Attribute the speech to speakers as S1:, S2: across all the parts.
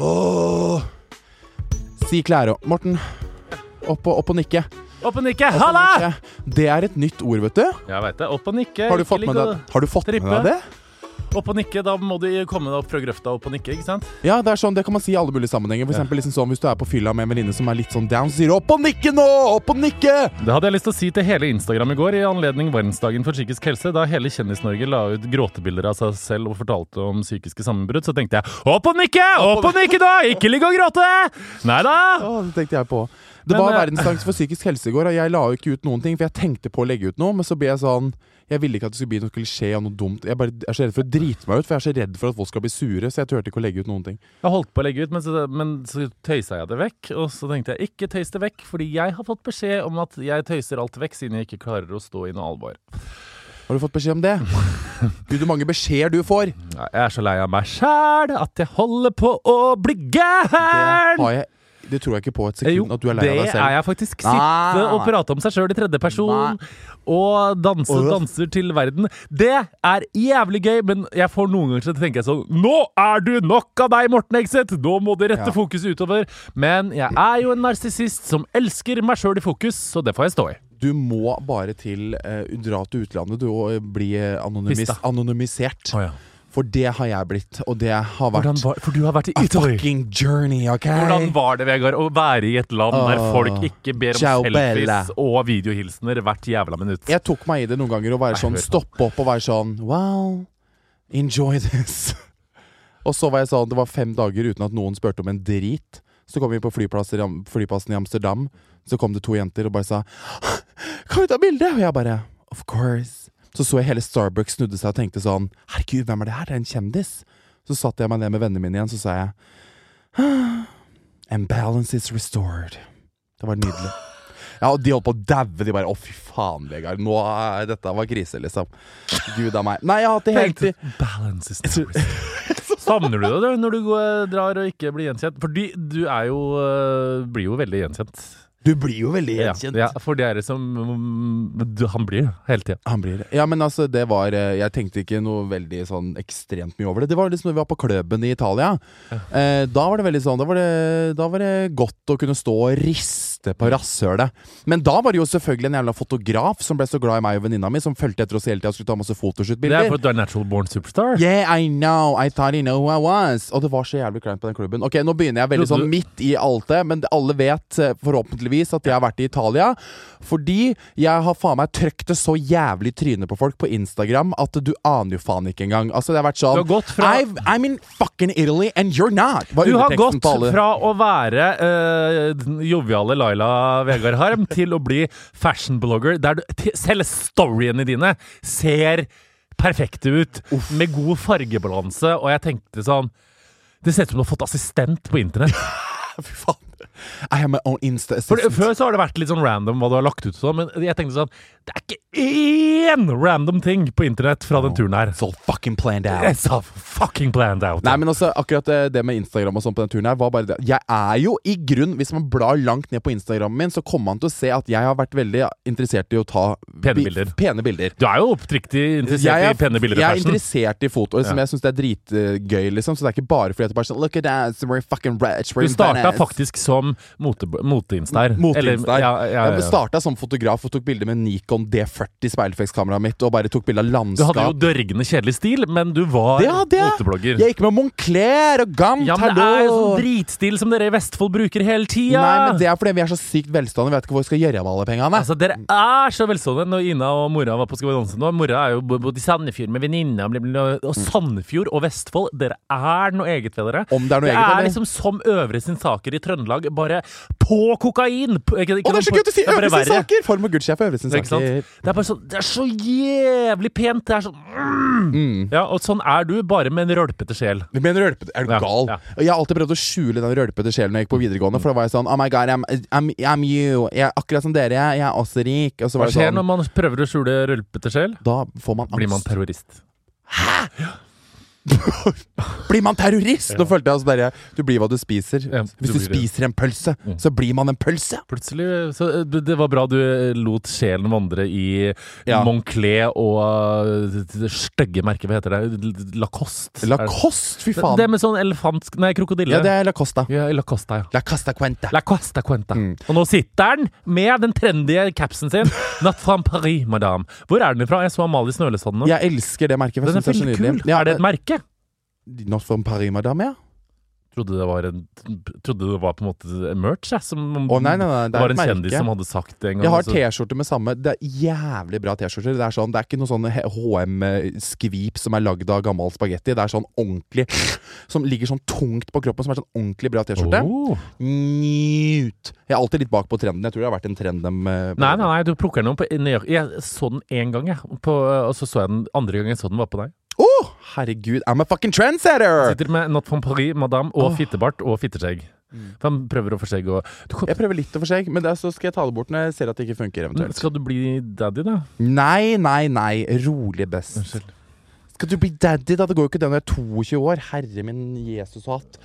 S1: Åh. Si klære opp, Morten. Opp og, opp og nikke. Opp
S2: Opp og nikke!
S1: og
S2: Halla!
S1: nikke. Det er et nytt ord, vet du.
S2: Jeg veit det. Opp og nikke.
S1: Har du
S2: Ikke
S1: fått
S2: ligg
S1: med deg,
S2: og-
S1: har du fått med
S2: trippe.
S1: deg det?
S2: Opp og nikke, da må du komme deg opp fra grøfta opp og nikke, ikke sant?
S1: Ja, det er sånn, det kan man si i alle mulige sammenhenger. For eksempel liksom sånn, Hvis du er på fylla med en venninne som er litt sånn down, så sier du 'opp og nikke nå! Opp og nikke!'
S2: Det hadde jeg lyst til å si til hele Instagram i går i anledning verdensdagen for psykisk helse. Da hele Kjendis-Norge la ut gråtebilder av seg selv og fortalte om psykiske sammenbrudd, så tenkte jeg opp og nikke! Opp og nikke, da! Ikke ligg og gråte! Nei da!
S1: Å, det tenkte jeg på. Det
S2: Men,
S1: var
S2: eh,
S1: verdensdagen for psykisk helse i går, og jeg la jo ikke ut noen ting. For jeg tenkte på å legge ut noe, men så ble jeg sånn Jeg ville ikke at det skulle bli noe klisjé og noe dumt. Jeg, bare, jeg er så redd for å drite meg ut, for jeg er så redd for at folk skal bli sure. Så jeg turte ikke å legge ut noen ting.
S2: Jeg holdt på å legge ut, men så, men så tøysa jeg det vekk. Og så tenkte jeg ikke tøys det vekk, fordi jeg har fått beskjed om at jeg tøyser alt vekk siden jeg ikke klarer å stå i noe alvor.
S1: Har du fått beskjed om det? Gud, hvor mange beskjeder du får!
S2: Nei, Jeg er så lei av meg sjæl at jeg holder på å bli gæren!
S1: Det har jeg Det tror jeg ikke på et
S2: Eh,
S1: sekund,
S2: Jo,
S1: at du er lei av deg
S2: det
S1: selv.
S2: er jeg faktisk.
S1: Nei,
S2: Sitte
S1: nei,
S2: og
S1: nei.
S2: prate om seg sjøl i tredjeperson og danse
S1: Uff.
S2: danser til verden. Det er jævlig gøy, men jeg får noen ganger til å tenke sånn Nå er du nok av deg, Morten Hegseth! Nå må du rette
S1: Ja.
S2: fokuset utover. Men jeg er jo en narsissist som elsker meg sjøl i fokus, så det får jeg stå i.
S1: Du må bare til eh, dra til utlandet du, og eh, bli eh, anonymis
S2: Pista.
S1: anonymisert. For det har jeg blitt, og det har vært
S2: Hvordan var, for du har vært i
S1: a
S2: Italia.
S1: fucking journey, OK?
S2: Hvordan var det, Vegard, å være i et land der
S1: Åh.
S2: folk ikke ber om
S1: Ciao,
S2: selfies
S1: Bella.
S2: og videohilsener hvert jævla minutt?
S1: Jeg tok meg i det noen ganger å være
S2: Nei,
S1: sånn
S2: hør på.
S1: stoppe opp og være sånn Well, enjoy this. Og så var jeg sånn Det var fem dager uten at noen spurte om en drit. Så kom vi på flyplasser i Am- flyplassen i Amsterdam. Så kom det to jenter og bare sa Kan vi ta bilde? Og jeg bare Of course. Så så jeg hele Starbucks snudde seg og tenkte sånn Herregud, hvem er det her? Det er en kjendis. Så satte jeg meg ned med vennene mine igjen, så sa jeg «Ah, And balance is restored. Det var nydelig. Ja, og de holdt på å daue. De bare Å, fy faen, Vegard. Nå er dette var krise, liksom. Gud a meg. Nei, jeg har hatt det helt i
S2: Balance is the risk. Savner du det når du går- drar og ikke blir gjenkjent? Fordi du er jo, eh, blir jo veldig gjenkjent.
S1: Du blir jo veldig
S2: Ja, ja, for det er det som mm, du, Han blir det hele tida.
S1: Han blir det. Ja, men altså, det var eh, Jeg tenkte ikke noe veldig sånn ekstremt mye over det. Det var liksom når vi var på klubben i Italia. Eh, da var det veldig sånn da var det, da var det godt å kunne stå og riste på rasshølet. Men da var det jo selvfølgelig en jævla fotograf som ble så glad i meg og venninna mi, som fulgte etter oss hele tida og skulle ta masse
S2: Det er
S1: photoshoot-bilder.
S2: fordi du er natural born superstar.
S1: Yeah, I know. I thought he know who I was. Og det var så jævlig kleint på den klubben. Ok, Nå begynner jeg veldig
S2: Trodde
S1: sånn
S2: du-
S1: midt i alt det, men alle vet eh, forhåpentligvis at jeg har vært i Italia. Fordi jeg har faen meg trøkt det så jævlig i trynet på folk på Instagram at du aner jo faen ikke engang. Altså, det har vært
S2: Du
S1: sånn
S2: har gått fra-
S1: I've, I'm in fucking Italy and you're not! Var
S2: Du har
S1: underteksten
S2: gått
S1: på alle.
S2: fra å være eh, den joviale Laila Vegard Harm til å bli fashionblogger, der du til- selv storyene dine ser perfekte ut, med god fargebalanse, og jeg tenkte sånn det ser ut som du har fått assistent på internett.
S1: Fy faen. I have my own Insta
S2: For det-
S1: assistant.
S2: Før så har det vært litt sånn random hva du har lagt ut, og sånn, men jeg tenkte sånn Det er ikke én random ting på internett fra den turen her.
S1: It's all fucking planned out.
S2: It's all fucking planned out.
S1: Nei, men altså, akkurat eh, det med Instagram og sånn på den turen her var bare det. Jeg er jo i grunn Hvis man blar langt ned på Instagrammen min, så kommer man til å se at jeg har vært veldig interessert i å ta
S2: Pene
S1: bi-
S2: bilder.
S1: Pene bilder.
S2: Du er jo oppriktig interessert
S1: Jeg er,
S2: i pene bilder og
S1: jeg er
S2: fashion.
S1: interessert i foto, som jeg syns er dritgøy, liksom. Så det er ikke bare fordi at det bare er sånn Look at us, we're fucking rich, we're
S2: Du starta
S1: bananas."
S2: faktisk som mote- moteinstær.
S1: Moteinstær.
S2: Eller- Ja, ja, ja,
S1: Jeg
S2: ja.
S1: starta som fotograf og tok bilder med Nikon D40 speilflekskameraet mitt, og bare tok bilde av
S2: Du hadde jo
S1: landskap.
S2: dørgende kjedelig stil, men du var
S1: Det hadde jeg.
S2: moteblogger.
S1: Jeg gikk med Moncler og Gant,
S2: Ja, men det er jo
S1: hallo!
S2: sånn dritstil som dere i Vestfold bruker hele tida!
S1: Nei, men det er fordi vi er så sykt velstående. Vi vet ikke hvor vi skal gjøre av alle pengene.
S2: Altså, Dere er så velstående når Ina og mora var på Skal vi danse nå. Mora er jo bo- bodd i Sandefjord med venninna. bli- bli- Og Sandefjord og Vestfold, dere er noe eget ved dere.
S1: Mm. Om det er noe
S2: det
S1: eget,
S2: er
S1: eller?
S2: liksom som Øvre sin saker i Trøndelag, bare på kokain! På- ikke- ikke
S1: Å, det er så
S2: på-
S1: gøy å si
S2: det er bare
S1: Øvre sin
S2: verre.
S1: saker! Form og gudssjef Øvre sin
S2: Ikke sant?
S1: saker.
S2: Det er bare sånn Det er så jævlig pent! Det er sånn mm. Ja, og sånn er du, bare med en rølpete sjel.
S1: Du mener rølpete? Er du
S2: Ja,
S1: gal?
S2: ja.
S1: Og Jeg har alltid prøvd å skjule den rølpete sjelen når jeg gikk på videregående. For da var jeg sånn Oh my god, I'm, I'm, I'm you. Jeg er akkurat som dere. Jeg er også rik. Og så
S2: Hva
S1: var det
S2: skjer når
S1: sånn
S2: man prøver å skjule rølpete sjel?
S1: Da får man angst.
S2: Blir man terrorist.
S1: Blir man terrorist?! Nå følte jeg altså bare Du blir hva du spiser.
S2: Ja,
S1: Hvis
S2: du
S1: du
S2: blir det. Mm.
S1: spiser en pølse, så blir man en pølse!
S2: Plutselig Så eh, det var bra du eh, lot sjelen vandre i
S1: Ja.
S2: Moncler og eh, det stygge merket, hva heter det? L- Lacoste. Er det-
S1: Lacoste, fy faen!
S2: Det med sånn elefantsk Nei, krokodille.
S1: ja, det er Lacosta.
S2: Ja, Lacoste, ja.
S1: La Mm. Casta Quenta.
S2: La Costa Cuenta. Og nå sitter han med den trendy capsen sin. Not from Paris, madame. Hvor er den ifra? Jeg så Amalie Snølesand nå.
S1: Jeg elsker det merket. for
S2: Den
S1: Jeg
S2: er veldig
S1: synes det er så
S2: kul.
S1: nydelig. Ja,
S2: er det et merke?
S1: Not from Paris, madame? Ja.
S2: Trodde det var en Trodde det var på en måte merch, jeg. Som om
S1: Å, nei, nei, nei, det er
S2: det var
S1: et
S2: en kjendis
S1: merke.
S2: som hadde sagt det en gang. altså.
S1: Jeg har
S2: så-
S1: T-skjorte med samme Det er jævlig bra T-skjorter. Det er sånn, det er ikke noe sånn HM-skvip som er lagd av gammel spagetti. Det er sånn ordentlig Som ligger sånn tungt på kroppen, som er sånn ordentlig bra T-skjorte.
S2: Oh.
S1: Njut. Jeg er alltid litt bak på trenden. Jeg tror det har vært en trend dem eh,
S2: Nei, nei, nei, du plukker den opp på nøyaktig Jeg så den én gang, jeg. På, og så så jeg den andre gang jeg så den var på deg.
S1: Åh, herregud, I'm a fucking trendsetter!
S2: Sitter med Not from Paris, Madame og
S1: Åh.
S2: fittebart og fitteskjegg. For Han prøver å få skjegg og du, kom-
S1: Jeg prøver litt å få skjegg, men det er, så skal jeg ta det bort når jeg ser at det ikke funker. eventuelt
S2: Skal du bli daddy, da?
S1: Nei, nei, nei. Rolig best.
S2: Unnskyld.
S1: Skal du bli daddy, da? Det går jo ikke det når jeg er 22 år. Herre min Jesus og hatt.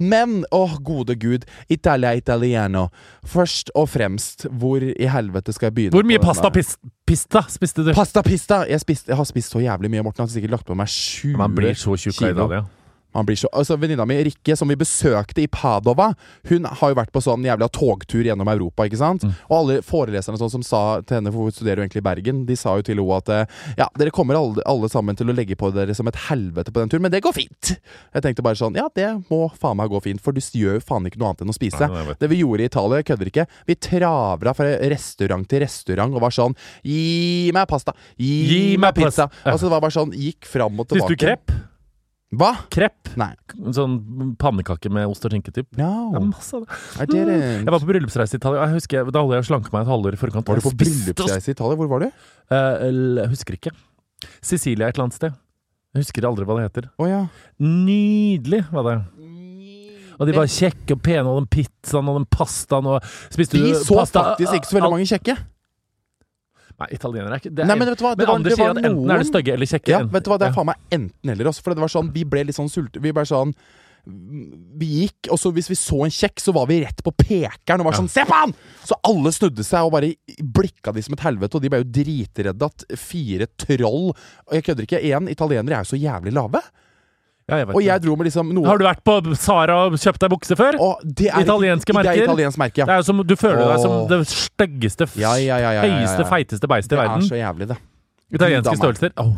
S1: Men, åh gode gud, Italia italiano. Først og fremst, hvor i helvete skal jeg begynne?
S2: Hvor mye
S1: på denne-
S2: pasta pis, pista spiste du?
S1: Pasta pista! Jeg, spiste- jeg har spist så jævlig mye, Morten. Jeg har sikkert lagt på meg 20
S2: Man blir så tjukk av
S1: kilo.
S2: Italia.
S1: Man blir så, altså Venninna mi Rikke, som vi besøkte i Padova, hun har jo vært på sånn jævla togtur gjennom Europa. ikke sant?
S2: Mm.
S1: Og alle foreleserne sånn som sa til henne, for hun studerer jo egentlig i Bergen, de sa jo til henne at eh, ja, dere kommer alle, alle sammen til å legge på dere som et helvete på den turen, men det går fint. Jeg tenkte bare sånn, ja, det må faen meg gå fint, for du gjør jo faen ikke noe annet enn å spise.
S2: Nei, jeg vet.
S1: Det vi gjorde i Italia, jeg kødder ikke. Vi travra fra restaurant til restaurant og var sånn Gi meg pasta! Gi,
S2: Gi meg
S1: meg pizza!
S2: pasta.
S1: Altså Det var bare sånn, gikk fram og
S2: Spiste
S1: tilbake.
S2: du krepp?
S1: Hva?
S2: Krepp.
S1: Nei.
S2: Sånn pannekake med ost og skinke, typ. Det er
S1: No.
S2: masse av det.
S1: I didn't.
S2: Jeg var på bryllupsreise i Italia. Jeg husker, jeg- Da holdt jeg og slanke meg et halvår i forkant.
S1: Var du
S2: Jeg
S1: på
S2: spiste og
S1: bryllupsreise i Italia? Hvor var du?
S2: Eh, l- Jeg husker ikke. Sicilia et eller annet sted. Jeg husker aldri hva det heter.
S1: Å ja.
S2: Nydelig var det. Og de var kjekke og pene, og den pizzaen og den pastaen og Spiste du
S1: De så
S2: pasta?
S1: faktisk ikke så veldig mange kjekke.
S2: Nei, italienere er ikke det er
S1: Nei, men vet du hva? Det
S2: men
S1: var,
S2: andre
S1: det
S2: sier
S1: var
S2: at enten er de
S1: noen
S2: stygge eller kjekke.
S1: Ja,
S2: enten-
S1: vet du hva, det er
S2: ja.
S1: faen meg enten eller. Også, for det var sånn, Vi ble litt sånn sulte Vi ble sånn Vi gikk, og så hvis vi så en kjekk, så var vi rett på pekeren og var
S2: Ja.
S1: sånn Se på han! Så alle snudde seg og bare blikka de som et helvete, og de ble jo dritredde at fire troll Og jeg kødder ikke, én italienere er jo så jævlig lave.
S2: Ja, jeg vet
S1: Og jeg
S2: det.
S1: dro med liksom noe
S2: Har du vært på Sara og kjøpt deg bukse før?
S1: Å, det er,
S2: Italienske
S1: Det
S2: merker?
S1: er italiensk merke,
S2: Det
S1: ja.
S2: er jo som, du føler deg som
S1: Åh.
S2: det styggeste, f-
S1: Ja, ja, ja, ja, ja, ja, ja.
S2: høyeste, feiteste beistet i
S1: Det er
S2: verden.
S1: så jævlig, det.
S2: Italienske
S1: Gud,
S2: størrelser. Åh,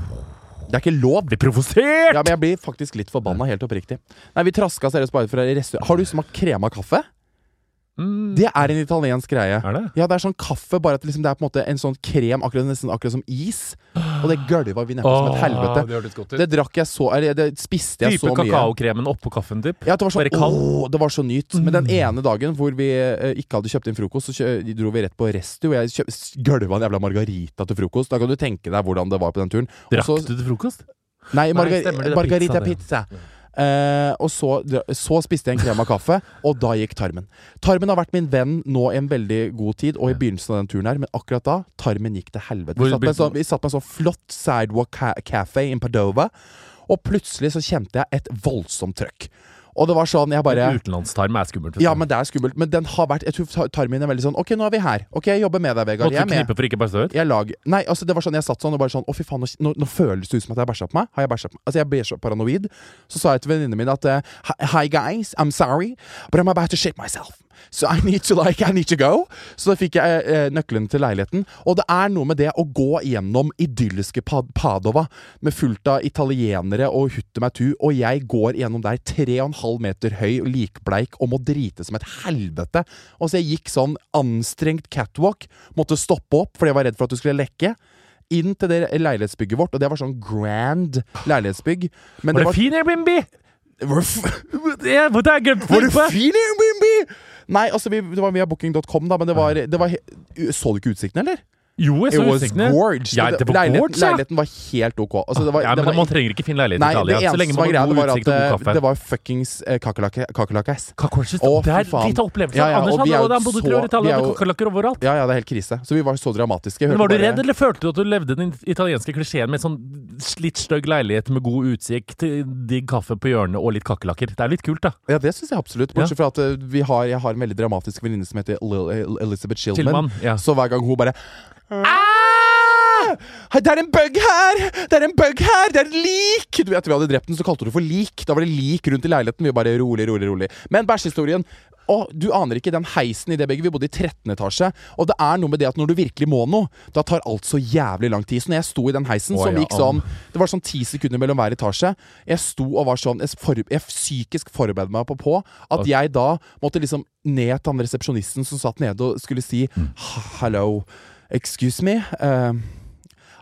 S1: Det er ikke lov.
S2: blir provosert!
S1: Ja, men jeg blir faktisk litt forbanna, helt oppriktig. Nei, vi traska seriøst bare fra restaurant. Har du smakt krema kaffe?
S2: Mm,
S1: Det er en italiensk greie.
S2: er det?
S1: Ja, det er sånn kaffe, bare at liksom, det er på en måte en sånn krem, akkurat, nesten akkurat som is. Og det gølva vi nedpå som et helvete.
S2: det hørtes godt
S1: Det drakk jeg så Eller det spiste jeg
S2: Type
S1: så mye.
S2: kakaokremen oppå kaffen, typ.
S1: Ja, det var,
S2: Bare
S1: sånn,
S2: kald. Mm.
S1: åh, det var så nytt. Men den ene dagen hvor vi eh, ikke hadde kjøpt inn frokost, så kjø dro vi rett på Restu, og jeg kjøp- s- gølva en jævla margarita til frokost. Da kan du tenke deg hvordan det var på den turen. Og
S2: Drakk
S1: så-
S2: du til frokost?
S1: Nei, marga
S2: stemmer det, det er pizza,
S1: margarita
S2: det.
S1: pizza. Eh, og så, dra- så spiste jeg en krem av kaffe, og da gikk tarmen. Tarmen har vært min venn nå i en veldig god tid, og i begynnelsen av den turen her, men akkurat da, tarmen gikk til helvete.
S2: Hvor
S1: Vi satt på en
S2: begynte-
S1: sånn, vi satt på en sånn flott sidewalk ca cafe in Padova, og plutselig så kjente jeg et voldsomt trøkk. Og det var sånn, jeg bare
S2: Utenlandstarm er skummelt.
S1: Ja, men det er skummelt, men den har vært Jeg tror tar- tarmen min er veldig sånn Ok, nå er vi her. Ok, jeg jobber med deg, Vegard. Jeg
S2: Måtte du
S1: er med
S2: knipe for ikke bare støt?
S1: jeg lag... Nei, altså det var sånn, jeg satt sånn og bare sånn Å, fy faen, nå, nå, nå føles det ut som at jeg bæsja på meg. Har jeg bæsja på meg? Altså, jeg blir så paranoid. Så sa jeg til venninnene mine at eh, «Hi- Hi, guys, I'm sorry, but I'm about to shit myself. So I need to like, I need to go. Så da fikk jeg eh, nøkkelen til leiligheten. Og det er noe med det å gå gjennom idylliske Pad Padova med fullt av italienere og hutte meg tu, og jeg går gjennom der tre og en halv meter høy, likbleik og må drite som et helvete. Og så jeg gikk sånn anstrengt catwalk, måtte stoppe opp fordi jeg var redd for at du skulle lekke. Inn til det leilighetsbygget vårt, og det var sånn grand leilighetsbygg. Men
S2: Var
S1: det
S2: det
S1: var,
S2: fin Airbnb?
S1: var, det
S2: Ja, hvor det er glemt
S1: var det
S2: på.
S1: fin Airbnb?! Nei, altså, vi, det var via booking.com, da, men det var, det var he- Så du ikke utsikten, eller?
S2: Jo, jeg
S1: It
S2: så
S1: was
S2: utsiktene.
S1: gorge.
S2: Ja, det var
S1: leiligheten,
S2: gorge, ja.
S1: leiligheten var helt ok. Altså, det var,
S2: ja,
S1: det
S2: men
S1: var
S2: Man trenger ikke finne leilighet
S1: Nei,
S2: i Italia.
S1: det
S2: så
S1: eneste
S2: lenge
S1: som var
S2: man
S1: greia,
S2: har
S1: det
S2: god
S1: var
S2: utsikt
S1: at
S2: og god
S1: eh,
S2: kaffe.
S1: det var fuckings eh, kakerlakke- kakerlakkes.
S2: Kakorsis,
S1: Å, fy
S2: det er
S1: faen.
S2: litt av opplevelser.
S1: Ja, ja,
S2: Anders
S1: og
S2: han
S1: vi er
S2: hadde
S1: jo
S2: han bodde i
S1: så-
S2: tur i
S1: vi
S2: Italia
S1: er
S2: med
S1: jo-
S2: kakerlakker overalt.
S1: Ja, ja, det er helt krise. Så vi var så dramatiske. Jeg
S2: Men
S1: hørte
S2: var du
S1: bare-
S2: redd, eller følte du at du levde den italienske klisjeen med en sånn litt stygg leilighet med god utsikt, digg kaffe på hjørnet og litt kakerlakker? Det er litt kult, da.
S1: Ja, det syns jeg absolutt. Bortsett fra at eh, vi har, jeg har en veldig dramatisk venninne som heter Lil El- Elizabeth Shilman.
S2: Tillmann, ja.
S1: Så hver gang hun bare «Ah! Det er en bug her! Det er en bug her! Det er et lik! Du, etter vi hadde drept den, så kalte hun det for lik. Da var det lik rundt i leiligheten. Vi bare rolig, rolig, rolig. Men bæsjehistorien Å, du aner ikke den heisen i det bygget. Vi bodde i 13. etasje. Og det er noe med det at når du virkelig må noe, da tar alt så jævlig lang tid. Så når jeg sto i den heisen,
S2: Å,
S1: som
S2: ja,
S1: gikk sånn Det var sånn ti sekunder mellom hver etasje. Jeg sto og var sånn Jeg, for, jeg psykisk forberedte meg på, på at jeg da måtte liksom ned til han resepsjonisten som satt nede og skulle si Hello, excuse me. Um,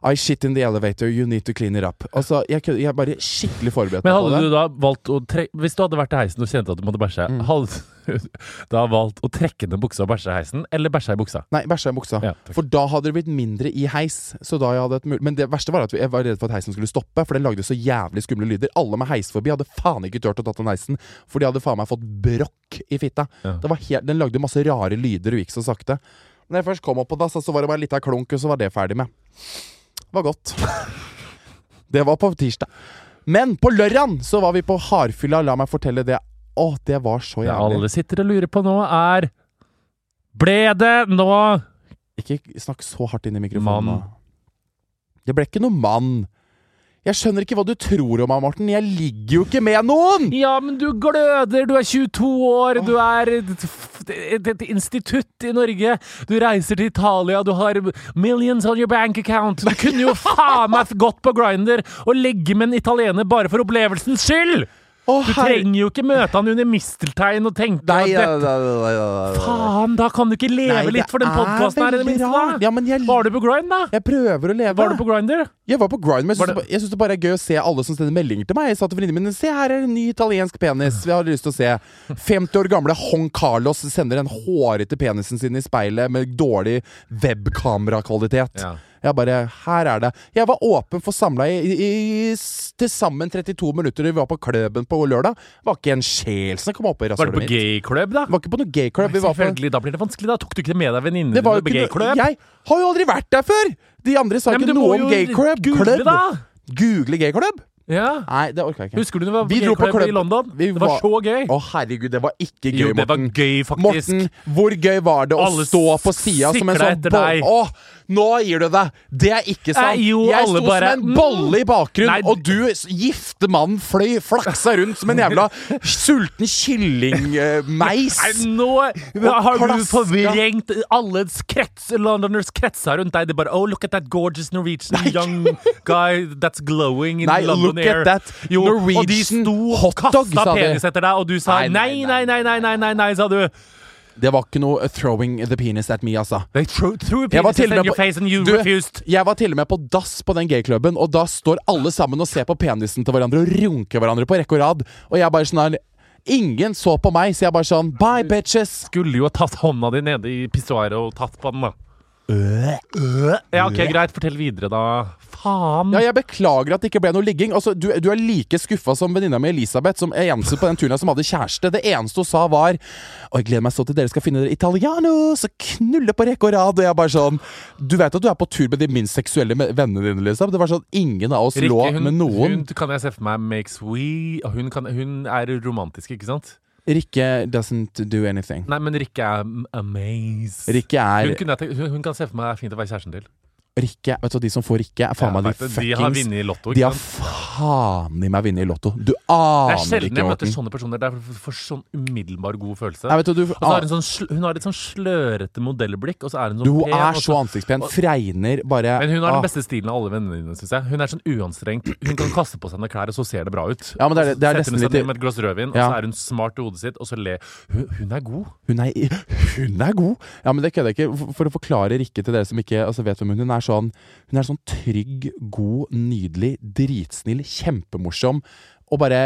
S1: I shit in the elevator, you need to clean it up. Altså, jeg, kødder- jeg bare skikkelig forberedt
S2: Men
S1: meg
S2: hadde
S1: på
S2: du
S1: det. Mm.
S2: da valgt å trekke Hvis du hadde vært i heisen og kjente at du måtte bæsje, hadde du da valgt å trekke ned buksa og bæsje i heisen, eller bæsje i buksa?
S1: Nei, bæsja i buksa.
S2: Ja, takk.
S1: for da hadde det blitt mindre i heis. Så da jeg hadde et mul Men det verste var at jeg var redd for at heisen skulle stoppe, for den lagde så jævlig skumle lyder. Alle med heis forbi hadde faen ikke turt å tatt den heisen, for de hadde faen meg fått brokk i fitta.
S2: Ja.
S1: Det var helt, den lagde masse rare lyder og gikk så sakte. Når jeg først kom opp på dass, så var det bare en liten klunk, og så var det ferdig med. Det var godt. det var på tirsdag. Men på lørdagen så var vi på hardfylla, la meg fortelle det. Å, det var så
S2: Det
S1: jævlig.
S2: alle sitter og lurer på nå, er Ble det nå
S1: Ikke snakk så hardt inn i mikrofonen.
S2: Mann.
S1: nå. Det ble ikke noe mann. Jeg skjønner ikke hva du tror om meg, Morten. Jeg ligger jo ikke med noen!
S2: Ja, men du gløder, du er 22 år, du er et, et, et institutt i Norge. Du reiser til Italia, du har millions on your bank account. Du kunne jo faen meg gått på Grinder og legge med en italiener bare for opplevelsens skyld!
S1: Å,
S2: Du
S1: herre-
S2: trenger jo ikke møte han under misteltein og tenke
S1: Nei,
S2: at
S1: nei,
S2: dette
S1: nei, nei, nei, nei.
S2: Faen, da kan du ikke leve
S1: Nei, det
S2: litt for den
S1: er
S2: podkasten her i det
S1: veldig
S2: minste, da!
S1: rart. Ja, men jeg,
S2: Var du på grind, da?
S1: jeg prøver å leve.
S2: Var du på grinder?
S1: Jeg var på Grind, men jeg
S2: Var
S1: syns det, ba- jeg synes det bare er gøy å se alle som sender meldinger til meg. Jeg sa til venninnene mine Se, her er en ny italiensk penis. Vi har lyst til å se. 50 år gamle Hong Carlos sender den hårete penisen sin i speilet med dårlig webkamerakvalitet.
S2: Ja.
S1: Jeg bare Her er det. Jeg var åpen for samla i, i, i s- til sammen 32 minutter. Vi var på klubben på lørdag. Var ikke en sjel som kom opp i
S2: Var du
S1: rasshølet
S2: på
S1: mitt.
S2: gayklubb, da?
S1: Var ikke på noe gayklubb. Vi var på
S2: Selvfølgelig, da blir det vanskelig. Da tok du ikke det med deg venninnene
S1: det var
S2: dine på
S1: jo ikke noe
S2: gayklubb?
S1: Jeg har jo aldri vært der før! De andre sa
S2: Ja, men
S1: ikke
S2: du
S1: noe
S2: må
S1: om
S2: jo
S1: gayklubb.
S2: google,
S1: Klubb.
S2: da.
S1: Google gayklubb?
S2: Ja.
S1: Nei, det orka jeg ikke.
S2: Husker du når
S1: Vi
S2: vi
S1: dro
S2: var
S1: på
S2: på gayklubb
S1: klubb.
S2: i London?
S1: Vi
S2: Det var
S1: var-
S2: så gøy!
S1: Å herregud, det var ikke gøy,
S2: Jo, det var
S1: Morten.
S2: gøy, faktisk.
S1: Morten, hvor gøy var det å
S2: Alle
S1: stå på sida som en
S2: sikla
S1: sånn
S2: etter
S1: boll...
S2: deg.
S1: Åh, nå gir du deg! Det er ikke sant!
S2: Nei, jo,
S1: jeg
S2: alle
S1: sto
S2: bare- mm.
S1: som en bolle i bakgrunnen,
S2: Nei, d-
S1: og du, s- gifte mann, fløy flaksa rundt som en jævla sulten eh, kyllingmeis.
S2: Nei, nå
S1: Og
S2: har du
S1: klaska.
S2: forvrengt alle krets, Londoners kretser rundt deg. Det er bare Oh, look at that gorgeous Norwegian young guy that's glowing in
S1: Nei,
S2: London
S1: look at
S2: air.
S1: that
S2: og de
S1: Norwegian
S2: sto og
S1: hotdog,
S2: kasta
S1: sa de.
S2: penis etter deg, og du sa
S1: Nei,
S2: nei,
S1: nei,
S2: nei, nei, nei, nei, nei, nei, sa du.
S1: Det var ikke noe 'throwing the penis at me', altså.
S2: They threw, threw
S1: Jeg var,
S2: penises
S1: til og
S2: in
S1: med
S2: your face and you
S1: du,
S2: refused.
S1: jeg var til og med på dass på den gayklubben, og da står alle sammen og ser på penisen til hverandre og runker hverandre på rekke og rad. Og jeg bare sånn her Ingen så på meg, så jeg bare sånn Bye, bitches!
S2: Skulle jo ha tatt hånda di nede i pissoaret og tatt på den, da. Ja, OK, greit. Fortell videre, da. Faen.
S1: Ja, jeg beklager at det ikke ble noe ligging. Altså, du, du er like skuffa som venninna mi Elisabeth, som er eneste på den turen her som hadde kjæreste. Det eneste hun sa, var Og jeg gleder meg så til dere skal finne dere italianos og knulle på rekke og rad. Og jeg bare sånn Du vet at du er på tur med de minst seksuelle me- vennene dine, liksom? Det var sånn ingen av oss lå
S2: Rikke, hun,
S1: med noen.
S2: hun kan jeg se for meg makes we og hun, kan, hun er romantisk, ikke sant?
S1: Rikke doesn't do anything.
S2: Nei, men Rikke er m- amaze.
S1: Rikke
S2: Hun,
S1: er
S2: kunne, jeg tenkt- hun, hun kan se for meg er fint å være kjæresten til.
S1: Rikke, vet du, hva, De som får Rikke, er faen
S2: Jeg
S1: meg de
S2: vet det, de har
S1: fuckings
S2: vunnet i Lotto.
S1: De
S2: Ikke
S1: har
S2: sant?
S1: faen i meg vunnet i Lotto. Du
S2: Det er
S1: aner
S2: sjelden
S1: ikke,
S2: jeg møter
S1: Morten.
S2: sånne personer. Det er for, for sånn umiddelbar god følelse.
S1: Nei, vet du, du,
S2: Og så har hun, sånn, sl- hun har et sånn slørete modellblikk, og så er hun
S1: du
S2: sånn
S1: hun
S2: pen.
S1: er
S2: og
S1: så ansiktspen. Fregner bare
S2: men hun har
S1: ah.
S2: den beste stilen av alle vennene dine, syns jeg. Hun er sånn uanstrengt. Hun kan kaste på seg noen klær, og så ser det bra ut.
S1: Ja, men det er- det er
S2: Setter hun
S1: nesten
S2: seg
S1: litt-
S2: ned med et glass rødvin,
S1: Ja.
S2: og så er hun smart i hodet sitt, og så ler hun. Hun er god.
S1: Hun er, hun er god! Ja, men det kødder jeg ikke. For- For å forklare Rikke til dere som ikke altså, vet hvem hun er, hun er sånn Hun er sånn trygg, god, nydelig, dritsnill, kjempemorsom. Og bare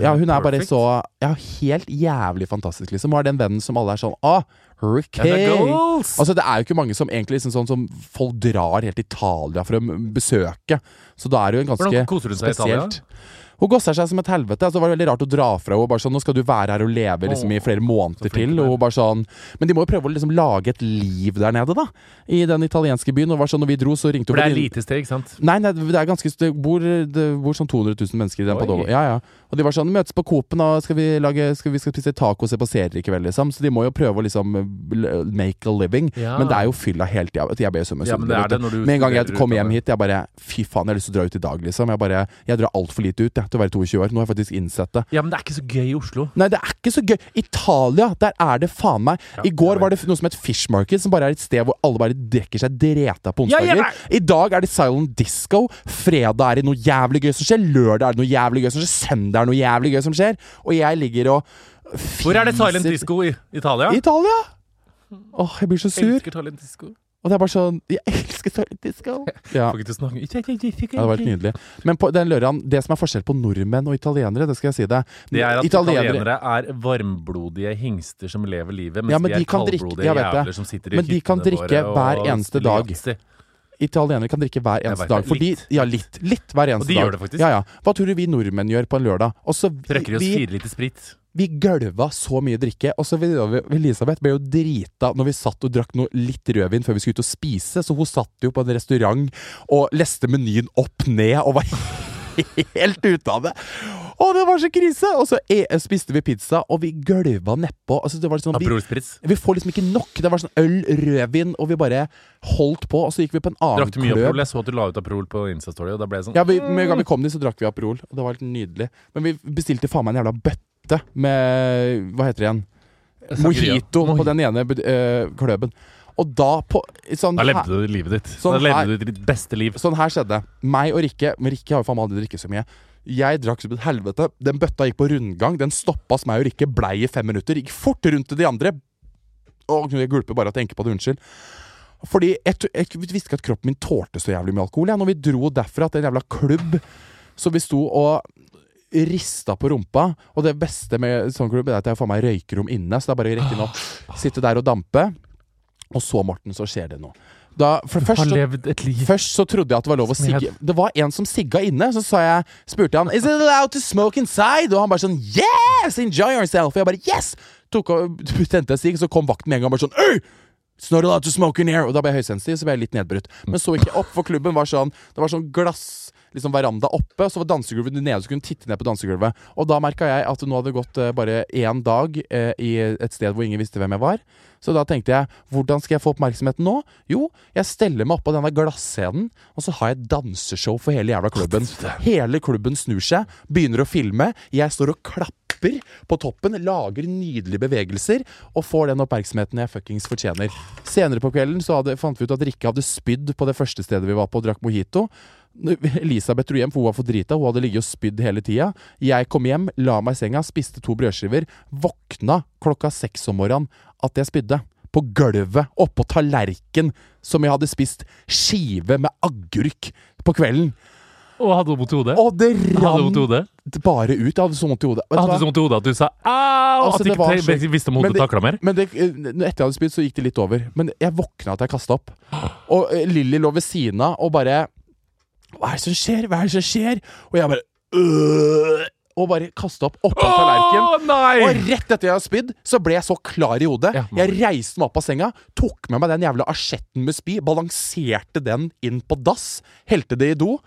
S1: Ja, hun er bare
S2: Perfect.
S1: så Ja, helt jævlig fantastisk, liksom. Hun er den vennen som alle er sånn Ah, Ricky!
S2: And the goals!
S1: Altså, det er jo ikke mange som egentlig liksom sånn som folk drar helt til Italia for å m- besøke. Så da er det jo en ganske
S2: Hvordan koser hun seg i Italia?
S1: spesielt. Hun gosser seg som et helvete. Altså, det var veldig rart å dra fra henne. Bare sånn, nå skal du være her og leve liksom, i flere måneder
S2: flink
S1: til.
S2: hun er.
S1: Og hun bare sånn Men de må jo prøve å liksom, lage et liv der nede, da. I den italienske byen. Og var sånn, når vi dro, så ringte hun
S2: For det er
S1: venninnen-
S2: lite steg, sant?
S1: Nei, nei, det er ganske Det bor, det bor sånn 200 000 mennesker i den
S2: Oi.
S1: Padova. Ja, ja. Og de var sånn Møtes på Coop-en, og skal vi, lage, skal vi skal spise taco og se på serier i kveld, liksom. Så de må jo prøve å liksom l- make a living.
S2: Ja.
S1: Men det er jo fylla helt til jeg, jeg ble jo så
S2: Ja, men det er det
S1: misunnelig.
S2: når
S1: vet
S2: du
S1: du. Med en gang jeg
S2: studerer
S1: kom
S2: ut av
S1: hjem
S2: det.
S1: hit, jeg bare Fy faen, jeg har lyst til å dra ut i dag, liksom. Jeg bare Jeg drar altfor lite ut, jeg, til å være 22 år. Nå har jeg faktisk innsett det.
S2: Ja, men det er ikke så gøy i Oslo.
S1: Nei, det er ikke så gøy. Italia, der er det faen meg I går
S2: jeg
S1: var det noe som het Fish Market, som bare er et sted hvor alle bare drikker seg dreta på
S2: Ja, jeg
S1: onsdager.
S2: vet.
S1: I dag er det silent disco. Fredag er det noe jævlig gøy som skjer. Lørdag er det noe jævlig gøy som skjer. Søndag er det noe jævlig gøy som skjer. Og jeg ligger og
S2: Hvor er det silent
S1: fiser-
S2: disco i Italia?
S1: I Italia! Åh, jeg blir så sur.
S2: Elsker silent disco.
S1: Og det er bare sånn Jeg elsker silent disco. Ja.
S2: Får ikke til å snakke.
S1: Ja, det var helt nydelig. Men på den lørdagen, det som er forskjell på nordmenn og italienere, det skal jeg si deg
S2: Det er at italienere er varmblodige hengster som lever livet, mens
S1: Ja, men
S2: de
S1: de
S2: er
S1: kan drikke-
S2: kaldblodige
S1: jeg vet det.
S2: jævler som sitter i
S1: Men de kan
S2: hyttene
S1: drikke
S2: våre
S1: hver
S2: og
S1: eneste
S2: spiller
S1: dag.
S2: yatzy.
S1: Italienere kan drikke hver eneste
S2: vet
S1: dag.
S2: det.
S1: Fordi,
S2: Litt.
S1: Ja, litt. Litt hver eneste
S2: de
S1: dag.
S2: gjør det faktisk.
S1: Ja, ja. Hva tror du vi nordmenn gjør på en lørdag? Og så
S2: Drikker
S1: vi,
S2: oss
S1: vi,
S2: fire liter sprit.
S1: vi gølva så mye drikke, og så videre over- Elisabeth ble jo drita når vi satt og drakk noe litt rødvin før vi skulle ut og spise, så hun satt jo på en restaurant og leste menyen opp ned og var helt ute av det. Å, det var så krise! Og så eh, spiste vi pizza, og vi gølva nedpå. Altså, det var sånn, vi,
S2: Aperol Spritz.
S1: vi får liksom ikke nok. Det var sånn øl, rødvin, og vi bare holdt på. Og så gikk vi på en annen
S2: Drakk du mye
S1: klubb.
S2: Aperol? Jeg så at du la ut Aperol på Insta-story, og da ble jeg sånn
S1: Ja, vi, Med en gang vi kom dit, så drakk vi Aperol. Og det var helt nydelig. Men vi bestilte faen meg en jævla bøtte med Hva heter det igjen?
S2: Sangria.
S1: Mojito
S2: Mojito.
S1: på den ene bud- eh, klubben. Og da på sånn,
S2: Da levde
S1: her,
S2: du livet ditt.
S1: Sånn
S2: da levde
S1: her-
S2: du ditt beste liv.
S1: sånn her skjedde det. Meg og Rikke Men Rikke har jo faen meg aldri drukket så mye. Jeg drakk som et helvete. Den bøtta gikk på rundgang. Den stoppa Smaur ikke. Blei i fem minutter. Gikk fort rundt til de andre. Å, jeg gulper bare av å tenke på det. Unnskyld. Fordi jeg, tro- jeg visste ikke at kroppen min tålte så jævlig mye alkohol. Ja. Når vi dro derfra til en jævla klubb, så vi sto og rista på rumpa. Og det beste med sånn klubb er at jeg får meg røykerom inne, så det er bare å rekke den opp. Sitte der og dampe. Og så, Morten, så skjer det noe. Da, for først,
S2: Har
S1: så-
S2: levd et liv
S1: Først så trodde jeg at det var lov å
S2: Som jeg
S1: sigge. Det var en som sigga inne. Så sa jeg, spurte jeg han Is it allowed to smoke inside? Og han bare sånn Yes! Enjoy yourself! Og jeg bare Yes! Tok og Tente en sigg, så kom vakten med en gang og bare sånn Øy! It's not allowed to smoke in here! Og da ble jeg høysensitiv, så ble jeg litt nedbrutt. Men så ikke opp, for klubben var sånn Det var sånn glass Liksom veranda oppe, så var dansegulvet nede, så kunne du titte ned på dansegulvet. Og da merka jeg at nå hadde det gått eh, bare én dag eh, i et sted hvor ingen visste hvem jeg var. Så da tenkte jeg, hvordan skal jeg få oppmerksomheten nå? Jo, jeg steller meg oppå denne glasscenen, og så har jeg et danseshow for hele jævla klubben. Hele klubben snur seg, begynner å filme. Jeg står og klapper på toppen, lager nydelige bevegelser, og får den oppmerksomheten jeg fuckings fortjener. Senere på kvelden så hadde, fant vi ut at Rikke hadde spydd på det første stedet vi var på, og drakk mojito. Elisabeth dro hjem, for hun var for drita. Hun hadde ligget og spydd hele tida. Jeg kom hjem, la meg i senga, spiste to brødskiver. Våkna klokka seks om morgenen at jeg spydde. På gulvet, oppå tallerken, som jeg hadde spist skive med agurk på kvelden.
S2: og hadde du vondt i hodet.
S1: Og det
S2: Hadde du vondt i
S1: rant
S2: hodet?
S1: bare ut. Jeg hadde så vondt i hodet. Vet du
S2: Hadde
S1: hva?
S2: du så vondt i hodet at du sa au?
S1: Altså,
S2: at du
S1: det var
S2: ikke
S1: slik-
S2: te- visste om
S1: Men
S2: hodet
S1: det-
S2: takla mer?
S1: Men det, eh, etter jeg hadde spydd, så gikk det litt over. Men jeg våkna at jeg kasta opp. Og eh, Lilly lå ved siden av og bare Hva er det som skjer? Hva er det som skjer? Og jeg bare øh, Og bare kasta opp oppå
S2: Å
S1: tallerkenen.
S2: nei!
S1: Og rett etter jeg har spydd, så ble jeg så klar i hodet.
S2: Ja,
S1: jeg reiste meg opp av senga, tok med meg den jævla asjetten med spy, balanserte den inn på dass, helte det i do.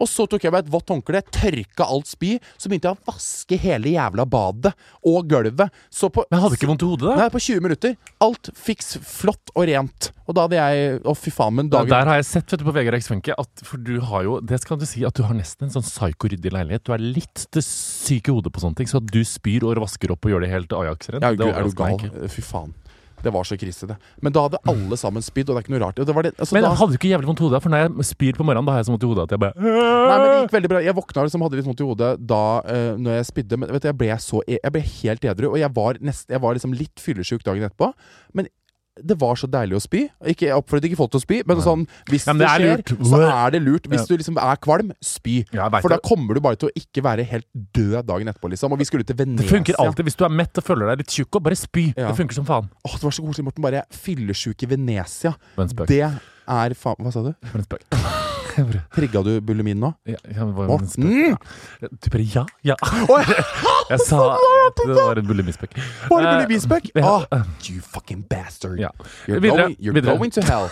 S1: Og så tok jeg meg et vått håndkle, tørka alt spy, så begynte jeg å vaske hele jævla badet og gulvet. Så på,
S2: Men hadde du ikke vondt i hodet, da?
S1: Nei, på 20 minutter. Alt fiks flott og rent. Og da hadde jeg Å, fy faen, men
S2: Ja,
S1: dagen
S2: Der har jeg sett vet du, på Vegard X Funke at for du har jo Det skal du si at du har nesten en sånn psyko-ryddig leilighet. Du er litt det syke i hodet på sånne ting, så at du spyr og vasker opp og gjør det helt Ajax-rent.
S1: Ja,
S2: det
S1: gud, er du
S2: overrasker meg
S1: gal? Eh,
S2: ikke.
S1: Fy faen. Det var så krise, det. Men da hadde alle sammen spydd, og det er ikke noe rart. Og det var det, altså,
S2: Men
S1: da,
S2: hadde du ikke jævlig vondt i hodet? For når jeg spyr på morgenen, da har jeg så vondt i hodet at jeg bare
S1: Nei, men det gikk veldig bra. Jeg våkna liksom, hadde litt vondt i hodet da eh, Når jeg spydde. Men vet du, jeg ble, så, e- jeg ble helt edru, og jeg var, nest, jeg var liksom litt fyllesyk dagen etterpå. Men det var så deilig å spy. Ikke, jeg oppfordret ikke folk til å spy, men sånn, hvis
S2: Ja, men
S1: det,
S2: det er
S1: skjer,
S2: lurt.
S1: så er det lurt. Hvis
S2: Ja.
S1: du liksom er kvalm, spy.
S2: Ja, jeg vet
S1: For da
S2: det.
S1: kommer du bare til å ikke være helt død dagen etterpå, liksom. Og vi skulle til Venezia.
S2: Det funker alltid hvis du er mett og føler deg litt tjukk og bare spy.
S1: Ja.
S2: Det funker som faen.
S1: Åh, det var så koselig, Morten. Bare fyllesyk i Venezia.
S2: For en spøk.
S1: Det er faen Hva sa du?
S2: For en spøk.
S1: Trigga du bulimien nå? mm!
S2: Ja, ja, men hva- men spøk.
S1: Morten!
S2: Du bare ja, ja. Jeg sa det var en bulimispøk.
S1: Var det
S2: Eh,
S1: bulimispøk?
S2: ja.
S1: Ah, you fucking bastard.
S2: Ja.
S1: You're,
S2: Videre,
S1: going, you're
S2: videre.
S1: going to hell.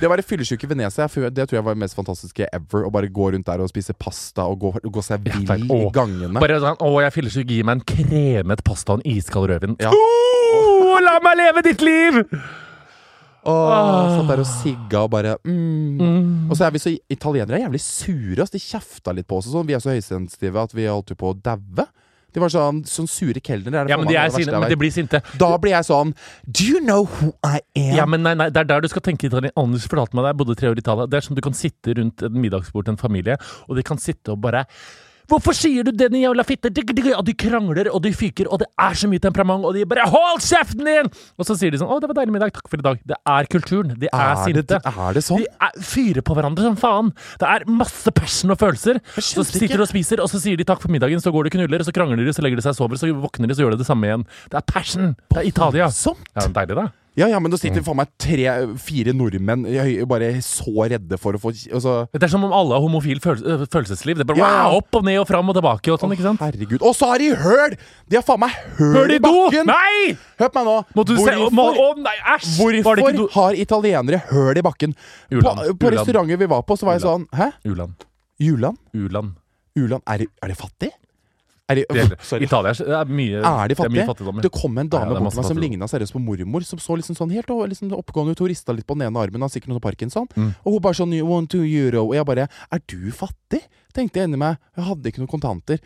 S1: Det å være fyllesyk i Venezia jeg føler- Det tror jeg var det mest fantastiske ever. Å bare gå rundt der og spise pasta og gå, gå seg
S2: Ja,
S1: vill
S2: takk.
S1: i
S2: Åh,
S1: gangene.
S2: Bare sånn, å, jeg er fyllesyk, gi meg en kremet pasta og en iskald rødvin.
S1: Ja.
S2: Oh, la meg leve ditt liv! Ah.
S1: Åh, satt der og sigga og bare mm. Og så er vi så Italienere er jævlig sure. ass. De kjefta litt på oss. og Sånn. Vi er så høysensitive at vi holdt jo på å daue. De var sånn, sånn sure kelnere. er det
S2: Ja,
S1: faen
S2: men de
S1: meg
S2: er
S1: det verste
S2: sine,
S1: jeg
S2: men
S1: vet.
S2: de blir sinte.
S1: Da blir jeg sånn Do you know who I am?
S2: Ja, men nei, nei, Det er der du skal tenke italien. Anders fortalte meg det, jeg bodde tre år i Italia. Det er sånn du kan sitte rundt et middagsbord til en familie, og de kan sitte og bare Hvorfor sier du den jævla fitte? Digg, digg, Og de krangler, og de fyker, og det er så mye temperament, og de bare Hold kjeften din! Og så sier de sånn Å, det var deilig middag. Takk for i dag. Det er kulturen. De er,
S1: er, det,
S2: sinte.
S1: er det
S2: De
S1: sånn?
S2: er, fyrer på hverandre som faen. Det er masse passion og følelser. Så
S1: skjønte
S2: sitter
S1: ikke.
S2: de og spiser, og så sier de takk for middagen, så går de og knuller, og så krangler de, så legger de seg og sover, så våkner de, så gjør de det samme igjen. Det er passion. Det er Italia. Mm.
S1: Sånt?
S2: Ja, deilig, da.
S1: Sånn? Ja, ja, men da sitter faen meg tre-fire nordmenn jeg, er bare så redde for å få altså,
S2: Det er som om alle har homofil følelse, øh, følelsesliv. Det er bare
S1: Ja, ja.
S2: wow, opp og ned og fram og tilbake og sånn, ikke sant?
S1: Herregud. Og så har de høl! De har faen meg høl,
S2: Hør de
S1: i
S2: do!
S1: bakken!
S2: Nei!
S1: Hør på meg nå.
S2: Måtte du se Å må- å, nei, æsj! Var det
S1: hvorfor
S2: ikke do?
S1: har italienere høl i bakken? På,
S2: Juland,
S1: på
S2: Juland.
S1: restauranter vi var på, så var jeg sånn Hæ?
S2: U-land.
S1: Juland?
S2: U-land.
S1: Juland? Er, de- er de fattig? Er de,
S2: Det gjelder.
S1: sorry.
S2: Italia er- er mye,
S1: Er de
S2: det er mye
S1: fattige?
S2: fattigdom.
S1: Det kom en dame
S2: Ja, det er
S1: bort
S2: masse
S1: til meg som
S2: fattigdom.
S1: ligna seriøst på mormor, som så liksom sånn helt over- liksom oppegående ut. Hun rista litt på den ene armen, har sikkert noe parkinson.
S2: Mm.
S1: Og hun bare sånn one, two euro. Og jeg bare Er du fattig? Tenkte jeg inni meg. Jeg hadde ikke noen kontanter.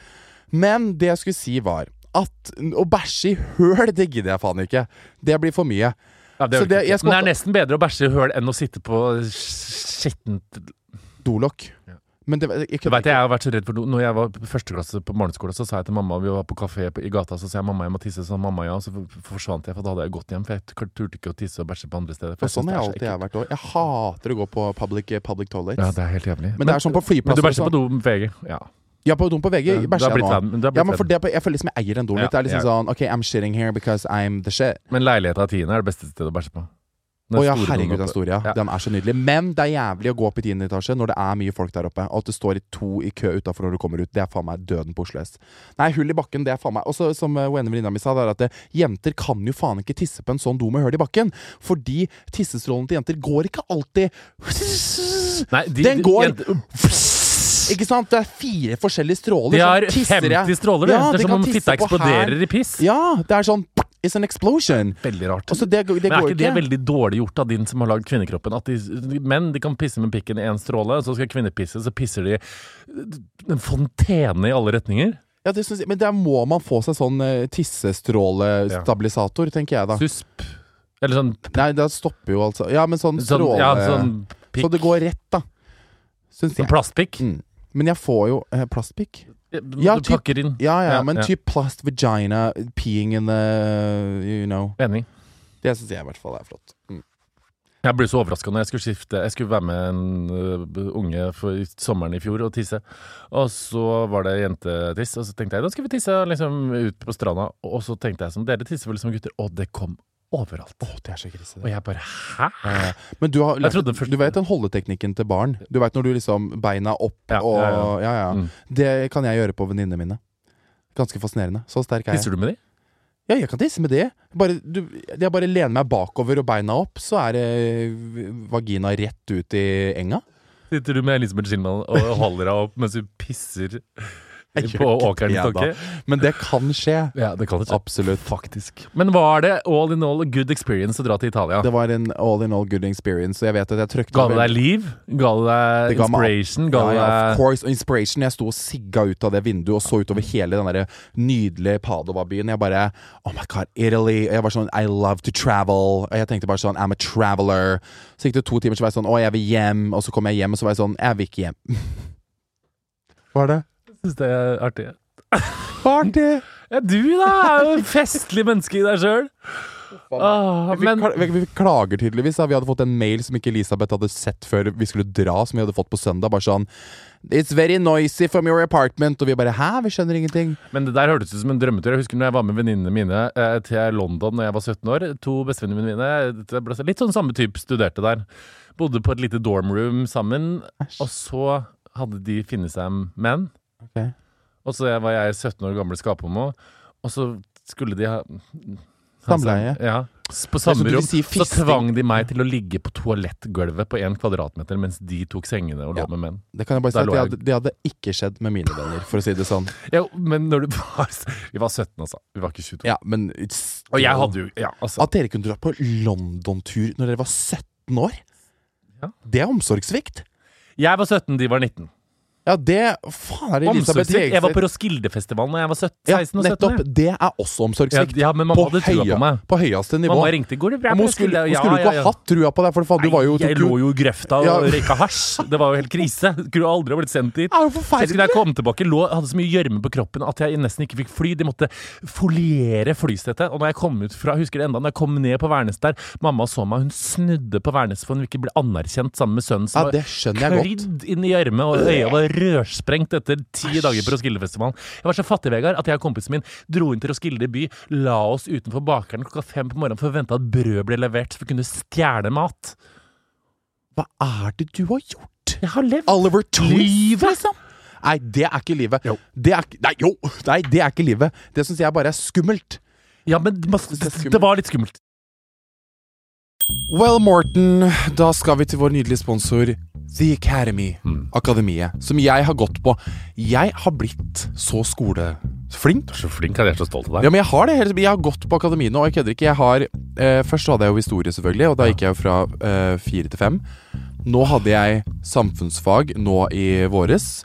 S1: Men det jeg skulle si, var at å bæsje i høl, det gidder jeg faen ikke. Det blir for mye.
S2: Ja, det er
S1: Så
S2: jo
S1: det-
S2: ikke-
S1: jeg skal
S2: Men det er
S1: ta-
S2: nesten bedre å bæsje i høl enn å sitte på skittent
S1: Dolokk. Men det, jeg,
S2: Det
S1: kunne
S2: vet jeg, jeg har vært så redd for no- Når jeg var på første klasse på barneskolen, så sa jeg til mamma Vi var på kafé på, i gata, så sa jeg mamma jeg må tisse. Så sa mamma ja, og så f- forsvant jeg, for da hadde jeg gått hjem. For jeg t- turte ikke å tisse og bæsje på andre steder. For
S1: Og sånn har jeg
S2: synes
S1: alltid
S2: det er så
S1: jeg vært òg. Jeg hater å gå på public, public toilets.
S2: ekkelt. Ja, det er helt jævlig.
S1: men det er sånn
S2: men
S1: på
S2: du
S1: flyplasser og
S2: bæsjer
S1: sånn.
S2: på do med VG. Ja.
S1: Ja, på doen på VG
S2: Du har
S1: bæsjer jeg
S2: blitt
S1: nå.
S2: venn- du har blitt
S1: Ja, men for
S2: venn.
S1: det, jeg føler liksom jeg eier den doen
S2: Ja,
S1: litt. Det er liksom
S2: ja.
S1: sånn OK, I'm shitting here because I'm the shit.
S2: Men leiligheta til Tine er det beste stedet å bæsje på. Den
S1: Å ja,
S2: store doen
S1: herregud,
S2: oppe.
S1: den store. Ja.
S2: Ja.
S1: Den er så nydelig. Men det er jævlig å gå opp i 10. etasje når det er mye folk der oppe, og at det står i to i kø utafor når du kommer ut. Det er faen meg døden på Oslo S. Nei, hull i bakken, det er faen meg Og så, som eh, en venninne mi sa, det er at eh, jenter kan jo faen ikke tisse på en sånn do med hull i bakken. Fordi tissestrålen til jenter går ikke alltid
S2: Nei, de-
S1: Den
S2: de-
S1: går
S2: jenter-
S1: Ikke sant? Det er fire forskjellige stråler.
S2: De
S1: som
S2: har
S1: tisser jeg.
S2: 50 stråler, det. det
S1: de
S2: er som
S1: kan
S2: om
S1: tisse
S2: fitta
S1: på her.
S2: eksploderer i piss.
S1: Ja, det er sånn It's an explosion.
S2: Veldig rart.
S1: Og så det, det
S2: Men er
S1: går
S2: ikke det
S1: ikke.
S2: veldig dårlig gjort av din som har lagd kvinnekroppen? At de, menn de kan pisse med pikken i én stråle, og så skal kvinner pisse, så pisser de en fontene i alle retninger?
S1: Ja, det synes jeg, men der må man få seg sånn eh, tissestrålestabilisator, tenker jeg da.
S2: Susp? Eller sånn,
S1: Nei, da stopper jo altså Ja, men sånn
S2: sånn,
S1: stråle
S2: ja, sånn pikk?
S1: Så det går rett, da. Syns
S2: sånn
S1: jeg.
S2: plastpikk?
S1: Mm. Men jeg får jo eh, plastpikk. Ja,
S2: Du
S1: typ-
S2: pakker inn
S1: Ja, ja,
S2: Ja,
S1: men
S2: ja.
S1: typ plast vagina peeing in the You know.
S2: Enig.
S1: Det syns jeg i hvert fall er flott. Mm.
S2: Jeg ble så overraska når jeg skulle skifte Jeg skulle være med en ø, unge for i sommeren i fjor og tisse. Og så var det jentetiss, og så tenkte jeg da skal vi tisse liksom ut på stranda. Og så tenkte jeg sånn Dere tisser vel som gutter? Og det kom overalt.
S1: Å, det er så krise.
S2: Og
S1: det.
S2: jeg bare Hæ?
S1: Eh, Men du har
S2: Jeg trodde først-
S1: Du vet den holdeteknikken til barn? Du vet når du liksom beina opp
S2: Ja,
S1: og
S2: ja,
S1: Ja,
S2: ja.
S1: ja.
S2: Mm.
S1: Det kan jeg gjøre på venninnene mine. Ganske fascinerende. Så sterk er jeg.
S2: Tisser du med de?
S1: Ja, jeg kan tisse med det. Bare, du, jeg bare lener meg bakover og beina opp, så er det vagina rett ut i enga.
S2: Sitter du med Elisabeth Schindmann og holder deg opp mens du pisser
S1: Jeg gjør
S2: på
S1: ikke
S2: åkeren i
S1: det,
S2: Stokke?
S1: Men det kan skje.
S2: Ja, det kan det skje.
S1: Absolutt.
S2: Faktisk. Men var det all in all a good experience å dra til Italia?
S1: Det var en all in all good experience, og jeg vet at jeg trykte
S2: Ga det deg liv? Ga det deg
S1: Det ga meg-
S2: inspiration? Ga
S1: Ja,
S2: det
S1: ja, of
S2: deg
S1: course. Og inspiration. Jeg sto og sigga ut av det vinduet og så utover hele den der nydelige Padova-byen. Jeg bare Oh my God, Italy. Og jeg var sånn I love to travel. Og jeg tenkte bare sånn I'm a traveler. Så gikk det to timer, så var jeg sånn Å, jeg vil hjem. Og så kom jeg hjem, og så var jeg sånn Jeg vil ikke hjem. Hva er det?
S2: Syns det er artig.
S1: Party!
S2: Ja, du da er jo et festlig menneske i deg sjøl. Ah,
S1: Vi,
S2: men
S1: kla- vi, vi klager tydeligvis. Da. Vi hadde fått en mail som ikke Elisabeth hadde sett før vi skulle dra, som vi hadde fått på søndag. Bare sånn It's very noisy from your apartment. Og vi bare Hæ? Vi skjønner ingenting.
S2: Men det der hørtes ut som en drømmetur. Jeg husker når jeg var med venninnene mine eh, til London da jeg var 17 år. To bestevenninnene mine, det ble litt sånn samme type, studerte der. Bodde på et lite dorm room sammen. Og så hadde de funnet seg en menn.
S1: Ok.
S2: Og så var jeg 17 år gamle skaphomo. Og så skulle de ha ha
S1: Samleie.
S2: seg- Ja. s- På samme
S1: Det er sånn du
S2: rom.
S1: sier
S2: så
S1: fisting.
S2: tvang de meg til å ligge på toalettgulvet på én kvadratmeter mens de tok sengene og lå
S1: Ja.
S2: med menn.
S1: Det kan jeg bare si
S2: Der
S1: at
S2: lå
S1: det
S2: jeg.
S1: hadde, det hadde ikke skjedd med mine venner, for å si det sånn.
S2: Ja, men når du var Vi var 17, altså. Vi var ikke 22.
S1: Ja, men it's-
S2: Og jeg hadde jo ja, altså,
S1: At dere kunne dra på London-tur når dere var 17 år,
S2: Ja.
S1: det er omsorgssvikt.
S2: Jeg var 17, de var 19.
S1: Ja, det Faen, er det Elisabeth
S2: Omsorgssvikt. Jeg var på
S1: Jegerstad-
S2: Roskildefestivalen da jeg var 17,
S1: ja,
S2: 16 og 17.
S1: nettopp.
S2: jeg.
S1: Det er også
S2: Ja,
S1: omsorgssvikt.
S2: ja, men mamma hadde trua på meg.
S1: på høyeste nivå.
S2: Mamma ringte går det bra
S1: Men
S2: på
S1: hun skulle,
S2: Roskilde?
S1: hun
S2: Ja,
S1: skulle ikke
S2: ja, ja.
S1: ha hatt trua på deg, for faen, du var jo
S2: Jeg
S1: du-
S2: lå jo i grøfta og
S1: Ja.
S2: røyka hasj. Det var jo helt krise. Skulle aldri ha blitt sendt dit.
S1: Det er jo
S2: Selv da
S1: forferdelig!
S2: jeg kom tilbake, lå, hadde så mye gjørme på kroppen at jeg nesten ikke fikk fly. De måtte foliere flysetet. Og når jeg kom ut fra, husker det enda, når jeg kom ned på Værnes der, mamma så meg, hun snudde på Værnes for hun ikke ble anerkjent sammen med sønnen.
S1: Ja,
S2: som var
S1: det skjønner jeg godt.
S2: Krydd inn i gjørme, og øya var rørsprengt etter ti dager på Roskildefestivalen. Jeg var så fattig, Vegard, at jeg og kompisen min dro inn til Roskilde by, la oss utenfor bakeren klokka fem på morgenen for å vente at brød ble levert, for vi kunne stjele mat.
S1: Hva er det du har gjort?
S2: Jeg har levd
S1: Oliver Twist,
S2: Livet.
S1: liksom? Nei, det er ikke livet.
S2: Jo.
S1: Det er, ikke- nei, jo! Nei, det er ikke livet. Det syns jeg bare er skummelt.
S2: Ja, men det, det var litt skummelt.
S1: Well, Morten, da skal vi til vår nydelige sponsor The Academy. Akademiet. Som jeg har gått på. Jeg har blitt så skoleflink.
S2: Så flink, jeg er så stolt av
S1: Ja, men jeg har det. helt- Jeg har gått på akademiene, og jeg kødder ikke. Jeg har, eh, først så hadde jeg jo historie, selvfølgelig, og da gikk jeg jo fra eh, fire til fem. Nå hadde jeg samfunnsfag nå i våres,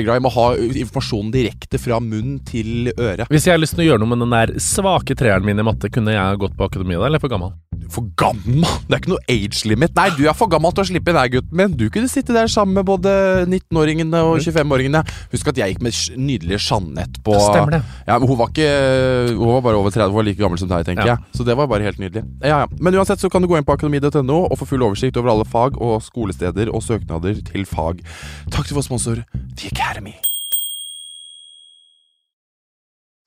S3: glad i å ha uh, informasjonen direkte fra munn til øre.
S2: Hvis jeg har lyst til å gjøre noe med den der svake treeren min i matte, kunne jeg gått på akademiet da, eller er jeg for gammel?
S3: For gammel! Det er ikke noe age limit. Nei, du er for gammel til å slippe inn her, gutten min. Du kunne sitte der sammen med både 19-åringene og 25-åringene. Husk at jeg gikk med sj- nydelige Jeanette på
S2: Ja, stemmer Mm. det.
S3: Ja, men hun var ikke Hun var bare over 30, hun var like gammel som deg, tenker
S2: Ja.
S3: jeg. Så det var bare helt nydelig. Ja, ja. Men uansett så kan du gå inn på akademi.no og få full oversikt over alle fag og skolesteder og søknader til fag. Takk til vår sponsor The Academy.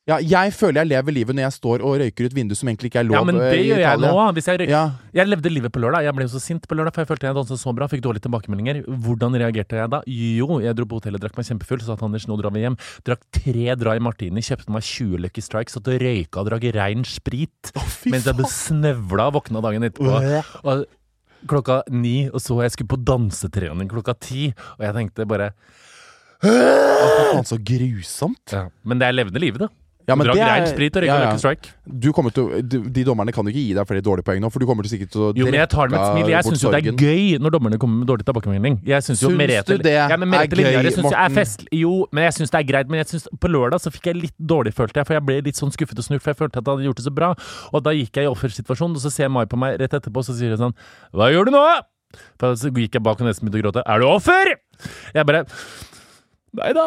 S1: Ja, jeg føler jeg lever livet når jeg står og røyker ut vinduet som egentlig ikke er lov.
S2: Ja, men
S1: eh,
S2: det
S1: i
S2: gjør jeg
S1: Italia.
S2: nå. Hvis jeg,
S1: Ja.
S2: jeg levde livet på lørdag. Jeg ble jo så sint på lørdag, for jeg følte jeg danset så bra. Fikk dårlige tilbakemeldinger. Hvordan reagerte jeg da? Jo, jeg dro på hotellet, drakk meg kjempefull, så at Anders nå drar vi hjem. Drakk tre dry martini, kjøpte meg 20 Lucky Strikes, satt og røyka og drakk rein sprit. mens jeg ble snøvla og våkna dagen etterpå. Og klokka ni, og så jeg skulle på dansetrening klokka ti, og jeg tenkte bare
S1: Å, for faen, så grusomt.
S2: ja. Men det er levende livet, da.
S1: Ja, men
S2: drakk
S1: det er-
S2: rein sprit og røyka
S1: ja, ja.
S2: Lucky Strike.
S1: Du kommer til, å- du, de dommerne kan jo ikke gi deg flere dårlige poeng nå, for du kommer til sikkert til å
S2: Jo, men jeg tar det med et
S1: drekke
S2: smil. Jeg syns jo det er
S1: bort sorgen.
S2: gøy når dommerne kommer med dårlig tilbakemelding. Jeg synes jo
S1: Syns
S2: Merete,
S1: du det
S2: ja, men
S1: er
S2: Merete
S1: gøy,
S2: Lillejære syns jeg er
S1: Morten?
S2: fest. Jo, men jeg syns det er greit. Men jeg synes, på lørdag så fikk jeg litt dårlig, følte jeg, for jeg ble litt sånn skuffet og snurt, for jeg følte at jeg hadde gjort det så bra. Og da gikk jeg i offersituasjonen, og så ser Mai på meg rett etterpå, og så sier hun sånn Hva gjør du nå? For så gikk jeg bak og nesten begynte å gråte. Er du offer? Jeg bare Nei da.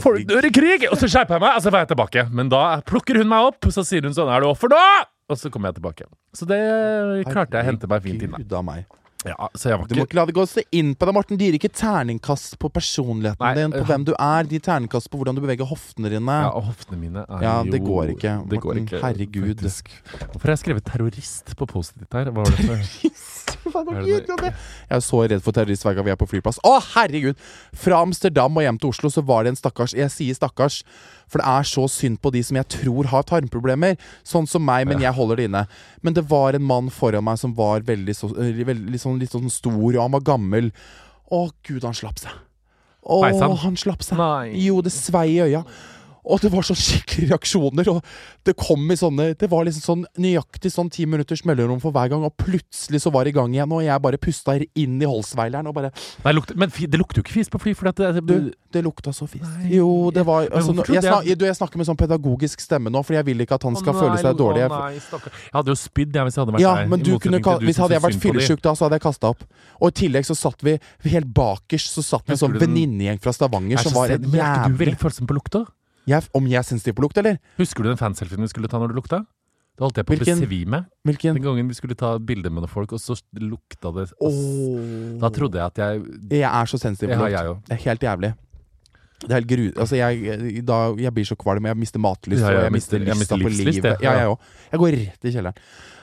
S2: Folk dør i krig! Og så skjerper jeg meg, og så var jeg tilbake. Men da plukker hun meg opp, så sier hun sånn Er du offer nå? Og så kommer jeg tilbake. Så det klarte jeg å hente meg fint inn. da.
S1: Gud av meg.
S2: Ja, så jeg var
S1: Du må
S2: ikke
S1: ikke la det gå så inn på deg, Morten. De gir ikke terningkast på personligheten
S2: Nei,
S1: din, på
S2: øh.
S1: hvem du er. De gir terningkast på hvordan du beveger hoftene dine.
S2: ja, og Hoftene mine er
S1: Ja,
S2: jo
S1: det går ikke.
S2: Det går
S1: Morten,
S2: ikke
S1: herregud.
S2: faktisk. Hvorfor har jeg skrevet terrorist på post ditt her? Hva var det for?
S1: Faen,
S2: Er
S1: hva
S2: det
S1: gjør
S2: det?
S1: jeg, det? jeg er så redd for terrorist hver gang vi er på flyplass. Å, herregud! Fra Amsterdam og hjem til Oslo så var det en stakkars Jeg sier stakkars, for det er så synd på de som jeg tror har tarmproblemer. Sånn som meg, men jeg holder det inne. Men det var en mann foran meg som var veldig, så, eh, veldig sånn, litt sånn stor, og han var gammel. Å, gud, han slapp seg. Å,
S2: Sveis han?
S1: han slapp seg.
S2: Nei.
S1: Jo, det svei i øya. Og det var sånn skikkelige reaksjoner. Og det kom i sånne Det var liksom sånn nøyaktig sånn ti minutters mellomrom for hver gang, og plutselig så var det i gang igjen, og jeg bare pusta inn i holsveileren og bare
S2: Nei, lukter- men fi- det lukter jo ikke fis på fly, for at det, det,
S1: Du, det lukta så fisk. Jo, det var altså,
S2: hvorfor
S1: nå-
S2: trodde
S1: jeg, snak,
S2: jeg-
S1: du, jeg snakker med sånn pedagogisk stemme nå, for jeg vil ikke at han
S2: Å,
S1: skal føle
S2: nei,
S1: seg dårlig.
S2: å, nei, stakkar. jeg hadde jo spydd jeg, hvis jeg hadde vært
S1: Ja,
S2: deg, i
S1: men du
S2: motsetning
S1: kunne,
S2: til
S1: ka-
S2: du
S1: hvis
S2: som
S1: hadde jeg vært
S2: syns synd på de.
S1: fyllesyk da, så hadde jeg kasta opp. Og i tillegg så satt vi helt bakerst, så satt vi en
S2: Husker
S1: sånn
S2: du den-
S1: venninnegjeng fra
S2: Jeg
S1: Stavanger
S2: er
S1: som
S2: så
S1: var
S2: sedd,
S1: en
S2: Men er ikke du
S1: jævlig
S2: veldig følsom på lukta?
S1: jeg, Om jeg er sensitiv på lukt, eller?
S2: Husker du den fanselfien vi skulle ta når du lukta? Da holdt jeg på å
S1: Hvilken?
S2: besvime.
S1: Hvilken?
S2: Den gangen vi skulle ta bilder med noen folk, og så lukta det og s-
S1: Åh.
S2: Da trodde jeg at jeg
S1: Jeg er så sensitiv
S2: Det
S1: på
S2: har
S1: lukt.
S2: jeg jo.
S1: Det er helt jævlig. Det er helt gru... Altså, jeg, da, jeg blir så kvalm. Jeg mister matlyst,
S2: Ja, ja,
S1: og
S2: jeg
S1: jeg
S2: mister-
S1: mister
S2: jeg
S1: lysta
S2: mister
S1: på
S2: livslyst,
S1: livet.
S2: jeg.
S1: Ja, jeg òg. Jeg går rett i kjelleren.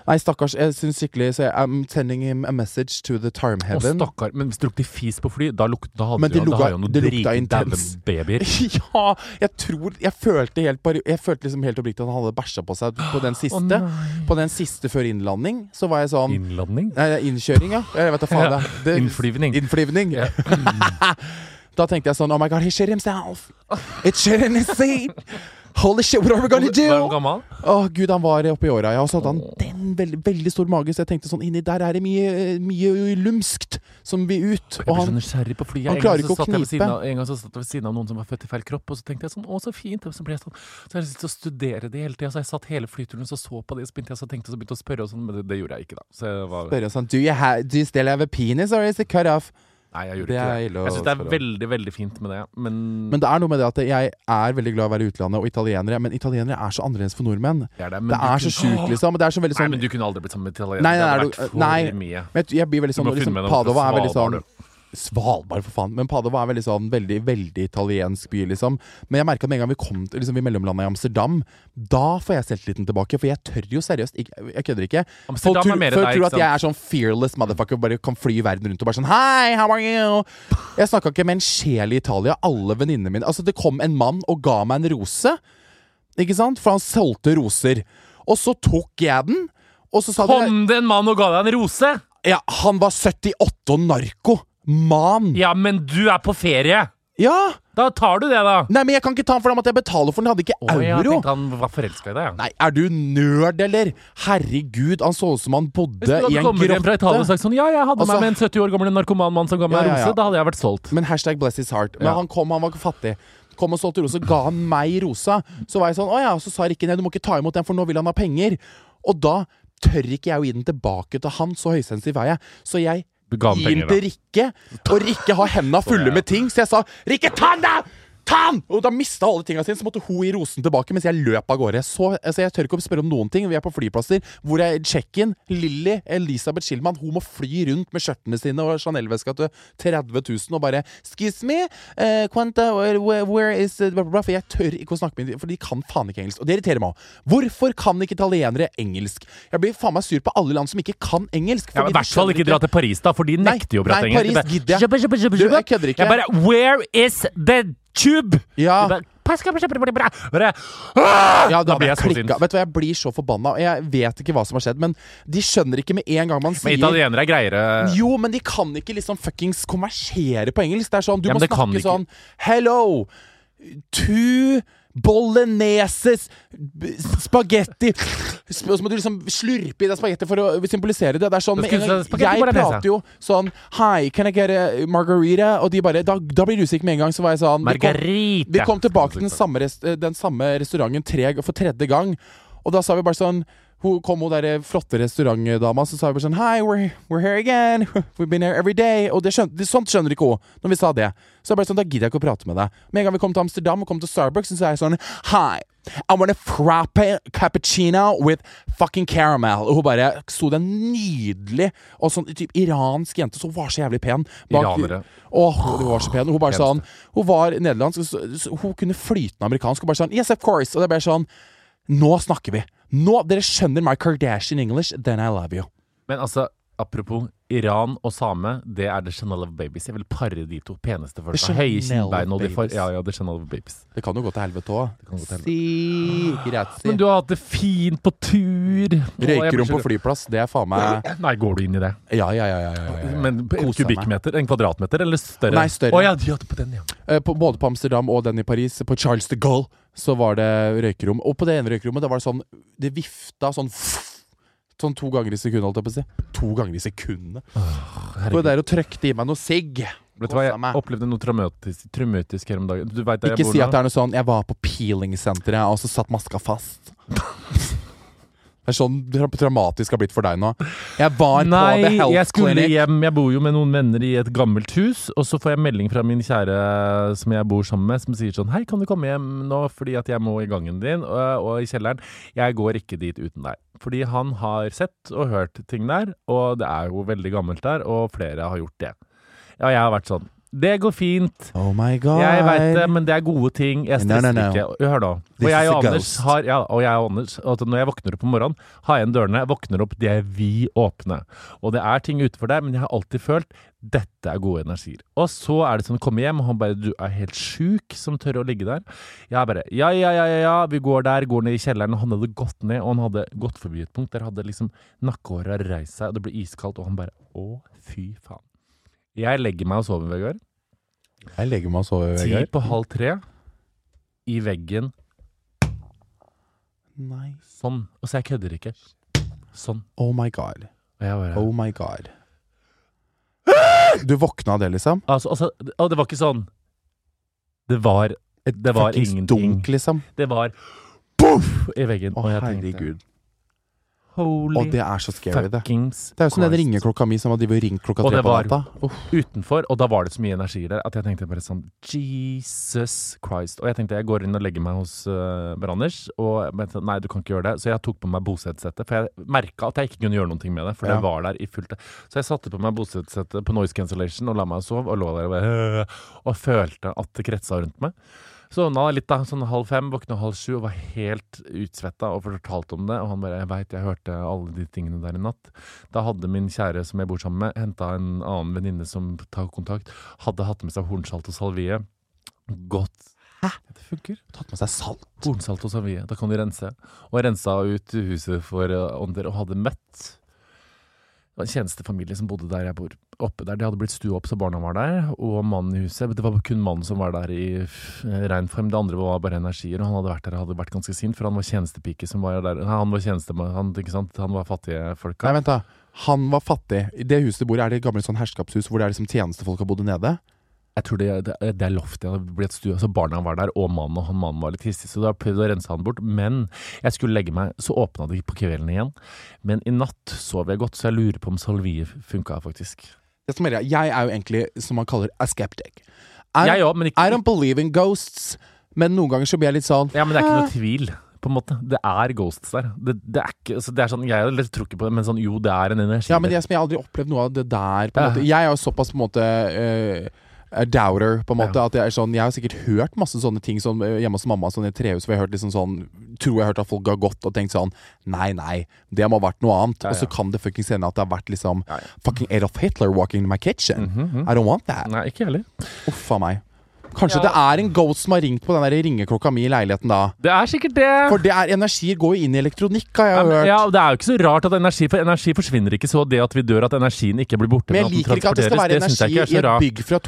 S1: Nei, stakkars. Jeg syns skikkelig Så jeg, I'm sending him a message to the tarm
S2: Å,
S1: heaven.
S2: stakkar. Men hvis det lukter fis på fly, da, luk, da hadde
S1: Men
S2: du
S1: det
S2: jo- da
S1: lukta-
S2: har jo noen
S1: det lukta
S2: dritdaue
S1: intens.
S2: babyer.
S1: ja! Jeg tror Jeg følte helt, bare- jeg følte liksom helt oppriktig at han hadde bæsja på seg på den siste.
S2: nei.
S1: på den siste før innlanding så var jeg sånn
S2: Innlanding?
S1: Nei, det er innkjøring, ja. Jeg vet da faen.
S2: Ja,
S1: det. Det,
S2: innflyvning.
S1: Innflyvning.
S2: Ja.
S1: da tenkte jeg sånn Oh my God, he shit himself! It shit in his seat! Holy shit, what are we gonna
S2: Var hun
S1: do?
S2: gammel?
S1: Å gud, han var oppi åra, ja. Og så hadde han den veldig, veldig stor mage, så jeg tenkte sånn Inni der er det mye, mye lumskt som vil ut.
S2: Jeg
S1: Og
S2: blir så
S1: han
S2: nysgjerrig på flyet.
S1: han
S2: En
S1: klarer
S2: gang så
S1: ikke å
S2: satt jeg ved
S1: knipe.
S2: siden av- En gang så satt jeg ved siden av noen som var født i feil kropp, og så tenkte jeg sånn Å, så fint. Og så ble jeg sånn Så har jeg lyst til å studere det hele tida. Så jeg satt hele flyturen og så, så på det, så begynte jeg så tenkte, og så begynte jeg å spørre, og sånn, men det, det gjorde jeg ikke, da. Så jeg var
S1: spør sånn Do you, have, do you still have a penis, or is it cut off?
S2: Nei, jeg
S1: Det
S2: gjorde
S1: er
S2: ikke
S1: ille
S2: det.
S1: å
S2: Jeg syns det er
S1: spørre om.
S2: veldig, veldig fint med det, men,
S1: Men det er noe med det at jeg er veldig glad i å være i utlandet, og italienere Men italienere er så annerledes for nordmenn.
S2: det er, det,
S1: Det er så sjukt, liksom. Det er så veldig
S2: Nei,
S1: sånn
S2: men du kunne aldri blitt sammen med italienere.
S1: Nei, nei,
S2: det
S1: nei,
S2: hadde
S1: du-
S2: vært for
S1: nei.
S2: mye.
S1: Men jeg, jeg blir veldig
S2: Du må
S1: sånn liksom,
S2: finne deg noen fra
S1: Padova er veldig
S2: Svalbard,
S1: sånn Svalbard, for faen. Men Padova er veldig sånn veldig, veldig italiensk by, liksom. Men jeg merka med en gang vi kom til liksom, vi mellomlanda i Amsterdam, da får jeg selvtilliten tilbake. For jeg tør jo seriøst ikke, Jeg kødder ikke.
S2: Amsterdam
S1: Folk tror-
S2: er mer
S1: folk
S2: deg,
S1: tror
S2: ikke
S1: at jeg er sånn fearless motherfucker, bare kan fly verden rundt og bare sånn Hei, how are you? Jeg snakka ikke med en sjel i Italia. Alle venninnene mine Altså, det kom en mann og ga meg en rose. Ikke sant? For han solgte roser. Og så tok jeg den, og så sa de
S2: Kom det en mann og ga deg en rose?
S1: ja, Han var 78 og narko. Man.
S2: Ja, men du er på ferie.
S1: Ja!
S2: Da tar du det, da.
S1: Nei, men jeg kan ikke ta den for da måtte jeg betale for den. Jeg hadde ikke
S2: Å, jeg
S1: euro.
S2: tenkte han var forelska i deg. Ja.
S1: Nei, er du nerd, eller? Herregud, han så ut som han bodde
S2: Hvis du
S1: i
S2: hadde
S1: en
S2: kommet hjem fra Italia og
S1: grotte.
S2: sagt sånn Ja, jeg hadde
S1: Altså-
S2: meg med en 70 år gammel narkoman mann som ga meg
S1: Ja,
S2: en
S1: ja, ja.
S2: rose, da hadde jeg vært solgt.
S1: Men hashtag bless his heart. Men
S2: Ja.
S1: han kom, han var ikke fattig. Kom og solgte rosa, ga han meg rosa. Så var jeg sånn, å ja, så sa Rikke nei, du må ikke ta imot den, for nå vil han ha penger. Og da tør ikke jeg å gi den tilbake til han, så høysensitiv er jeg. Så jeg
S2: Du ga han
S1: gir
S2: penger,
S1: den til Rikke, og Rikke har henda fulle med ting, så jeg sa 'Rikke, ta den, da!' Ta den! Og da mista alle tinga sine, så måtte hun gi rosen tilbake mens jeg løp av gårde. Så altså, Jeg tør ikke å spørre om noen ting. Vi er på flyplasser hvor jeg check-in. Lilly Elisabeth Schillmann hun må fly rundt med skjørtene sine og Chanel-veska til 30 000 og bare 'Excuse me, eh, Quanta, where, where- where is eh, blah, blah, blah», For jeg tør ikke å snakke med dem, for de kan faen ikke engelsk. Og det irriterer meg òg. Hvorfor kan ikke italienere engelsk? Jeg blir faen meg sur på alle land som ikke kan engelsk.
S2: Ja, men I
S1: fordi de
S2: hvert fall
S1: skjønner
S2: ikke dra til Paris, da, for de
S1: Nei,
S2: nekter jo å prate
S1: nei,
S2: engelsk. De
S1: Paris
S2: bare,
S1: gidder jeg.
S2: «Jubba, jubba, jubba,
S1: Du,
S2: jubba».
S1: jeg kødder ikke. Ah.
S2: Jeg bare Where is the tube? De
S1: Ja.
S2: bare, «Pass, pass, pass, pass, pass, pass». Bare, «Ah!»
S1: Ja, da,
S2: Da blir jeg så
S1: klikket.
S2: sint.
S1: Vet du hva, jeg blir så forbanna. og Jeg vet ikke hva som har skjedd, men de skjønner ikke med en gang
S2: Men
S1: man sier
S2: italienere er greiere.
S1: jo, men de kan ikke liksom fuckings konversere på engelsk. Det er sånn, Du
S2: Ja, men
S1: må
S2: det kan
S1: snakke
S2: de ikke.
S1: sånn Hello, two bologneses b- spagetti Sp- Og så må du liksom slurpe i deg spagetti for å symbolisere det. Det er sånn
S2: Da
S1: med
S2: skulle
S1: en gang,
S2: du si spagetti
S1: Jeg
S2: bolognese.
S1: prater jo sånn Hi, can I get a margarita? Og de bare Da, da blir du usikker med en gang. Så var jeg sånn vi kom-
S2: Margarita.
S1: vi kom tilbake til den samme, rest, eh, den samme restauranten tre, for tredje gang. Og da sa vi bare sånn hun kom hun der eh, flotte restaurantdama så sa vi bare sånn Hi, we're, we're here again. We've been here every day. Og det skjønte, det, sånt skjønner ikke hun når vi sa det. Så jeg bare sånn, da gidder jeg ikke å prate med deg. Med en gang vi kom til Amsterdam og kom til Starbucks, så sa jeg sånn Hi, I want a frappe cappuccino with fucking caramel. Og hun bare sto der nydelig, og sånn typ iransk jente, så hun var så jævlig pen.
S2: Iranere.
S1: Åh, hun var så pen. Hun bare sånn Hun var nederlandsk, så, så hun kunne flytende amerikansk. Hun bare sånn Yes, of course. Og det ble sånn Nå snakker vi. Nå, Dere skjønner my Kardashian English, then I love you.
S2: Men altså, apropos Iran og same, det er The Chanel of Babies. Jeg vil pare de to peneste folk.
S1: The
S2: Høye
S1: Chanel of
S2: kinnbein og de for...
S1: Babies.
S2: Ja, ja, The Chanel of Babies.
S1: Det kan jo gå til helvete òg.
S2: kan gå til helvete.
S1: Si, grazie.
S2: Men du har hatt det fint på tur. Å, jeg blir
S1: Røykerom
S2: så
S1: på flyplass, det er faen meg
S2: redd. Nei, går du inn i det?
S1: Ja, ja, ja. ja, ja, ja, ja.
S2: Men en
S1: Kosa meg.
S2: kubikkmeter? En kvadratmeter, eller større?
S1: Nei, større.
S2: Å ja, de hadde på den, ja.
S1: Eh, på, både på Amsterdam og den i Paris, på Charles de Gaulle, så var det røykerom. Og på det ene røykerommet, da var det sånn Det vifta sånn Sånn to ganger i sekundet, holdt jeg på å si. To ganger i sekundet. Sto jeg der og trøkte i meg noe sigg.
S2: Vet du hva,
S1: Kosa meg.
S2: jeg opplevde noe traumatisk, traumatisk her om dagen. Du vet der
S1: Ikke
S2: jeg bor
S1: si at
S2: nå?
S1: det er noe sånn 'jeg var på peelingsenteret, og så satt maska fast'. Det er sånn tra- traumatisk har blitt for deg nå. Jeg var på The
S2: Nei, jeg
S1: Health
S2: skulle
S1: Clinic.
S2: hjem. Jeg bor jo med noen venner i et gammelt hus, og så får jeg melding fra min kjære som jeg bor sammen med, som sier sånn Hei, kan du komme hjem nå fordi at jeg må i gangen din og, og i kjelleren? Jeg går ikke dit uten deg. Fordi han har sett og hørt ting der, og det er jo veldig gammelt der, og flere har gjort det. Ja, jeg har vært sånn Det går fint.
S1: Oh my god.
S2: Jeg veit det, men det er gode ting. Jeg
S1: No,
S2: stresser
S1: no, no.
S2: ikke. Hør nå. Og
S1: This
S2: jeg
S1: is
S2: og
S1: a
S2: Anders
S1: ghost.
S2: har ja, Og jeg og Anders at Når jeg våkner opp om morgenen, har jeg igjen dørene, jeg våkner opp, de er vid åpne. Og det er ting utenfor der, men jeg har alltid følt dette er gode energier. Og så er det sånn komme hjem, og han bare 'Du er helt sjuk som tør å ligge der'. Jeg bare 'Ja, ja, ja, ja, ja, vi går der', går ned i kjelleren, og han hadde gått ned, og han hadde gått forbi et punkt der hadde liksom nakkehåret reist seg, og det ble iskaldt, og han bare 'Å, fy faen'. Jeg legger meg og sover, Vegard.
S1: Jeg legger meg og sover,
S2: Ti
S1: Vegard.
S2: på halv tre i veggen
S1: Nei.
S2: sånn. Altså, jeg kødder ikke. Sånn.
S1: Oh my god.
S2: Og jeg bare
S1: Oh my god. Du våkna av det, liksom?
S2: altså, altså, Og det var ikke sånn. Det var
S1: Et
S2: Det var
S1: fuckings
S2: ingenting.
S1: dunk, liksom?
S2: Det var boff i veggen.
S1: Å,
S2: og jeg tenkte
S1: herregud.
S2: Å,
S1: Og
S2: Holy
S1: det er så scary, det.
S2: fuckings
S1: Det er jo som den
S2: Christ.
S1: ringeklokka mi som har drevet og ringt klokka
S2: Og
S1: tre
S2: det
S1: på
S2: var-
S1: natta. Uff.
S2: utenfor, og da var det så mye energi der at jeg tenkte bare sånn Jesus Christ. Og jeg tenkte jeg går inn og legger meg hos uh, Anders, og men jeg tenkte, nei, du kan ikke gjøre det. Så jeg tok på meg bosetsettet, for jeg merka at jeg ikke kunne gjøre noe med det. For
S1: Ja.
S2: det var der i fullt Så jeg satte på meg bosetsettet på noise cancellation og la meg sove, og lå der og, bare, øh, og følte at det kretsa rundt meg. Sovna litt da, sånn halv fem, våkna halv sju og var helt utsvetta og fortalte om det. Og han bare 'Jeg veit, jeg hørte alle de tingene der i natt'. Da hadde min kjære som jeg bor sammen med, henta en annen venninne som tar kontakt. Hadde hatt med seg hornsalt og salvie. Godt. Hæ? Det funker.
S1: Tatt med seg salt.
S2: Hornsalt og salvie. Da kan du rense. Og rensa ut huset for eh, ånder og hadde møtt det var en tjenestefamilie som bodde der jeg bor. Oppe der, De hadde blitt stua opp så barna var der, og mannen i huset. Det var kun mannen som var der i f- rein form. Det andre var bare energier, og han hadde vært der og hadde vært ganske sint, for han var tjenestepike som var der. Nei, han var tjenestemann, han, ikke sant? Han var fattige folka.
S1: Nei, vent da. Han var fattig. I det huset de bor i, er det gamle sånn herskapshus hvor det er liksom tjenestefolk har bodd nede.
S2: Jeg tror det, det, det er loftet jeg hadde blitt stua, så Altså, barna var der, og mannen og han mannen var litt hissig, så da prøvde jeg å rense han bort. Men jeg skulle legge meg, så åpna det på kvelden igjen. Men i natt sov jeg godt, så jeg lurer på om salvie funka, faktisk.
S1: Det som er, greia, jeg er jo egentlig, som man kaller, a skeptic. I,
S2: Jeg òg, men ikke
S1: I don't believe in ghosts, men noen ganger så blir jeg litt sånn
S2: Ja, men det er ikke noe tvil. På en måte. Det er ghosts der. Det, det er ikke, altså, det er sånn, jeg tror ikke på det, men sånn, jo, det er en energi
S1: Ja, men
S2: der.
S1: jeg, som jeg har aldri opplevd noe av det der. På en
S2: Ja.
S1: måte. Jeg er jo såpass på en måte eh, a doubter, på en måte.
S2: Ja.
S1: At jeg, er sånn, jeg har sikkert hørt masse sånne ting sånn, eh, hjemme hos mamma sånn, i et trehus. Hvor jeg har hørt liksom sånn Tror jeg har hørt at folk har gått og tenkt sånn Nei, nei, det må ha vært noe annet. Og så kan det fuckings hende at det har vært liksom fucking Adolf Hitler walking in my kitchen. I don't want that.
S2: Mhm, Nei, ikke jeg heller.
S1: Uff a meg. Kanskje det er en ghost som har ringt på den der ringeklokka mi i leiligheten da.
S2: Det er sikkert det.
S1: For det er energier går jo inn i elektronikk, har jeg
S2: ja, men,
S1: hørt.
S2: ja, og Det er jo ikke så rart at energi For energi forsvinner ikke så det at vi dør, at energien ikke blir borte.
S1: Men jeg
S2: at den
S1: liker ikke at det skal være
S2: transporteres. Det synes jeg
S1: energi
S2: ikke er så
S1: i et
S2: rart.
S1: bygg fra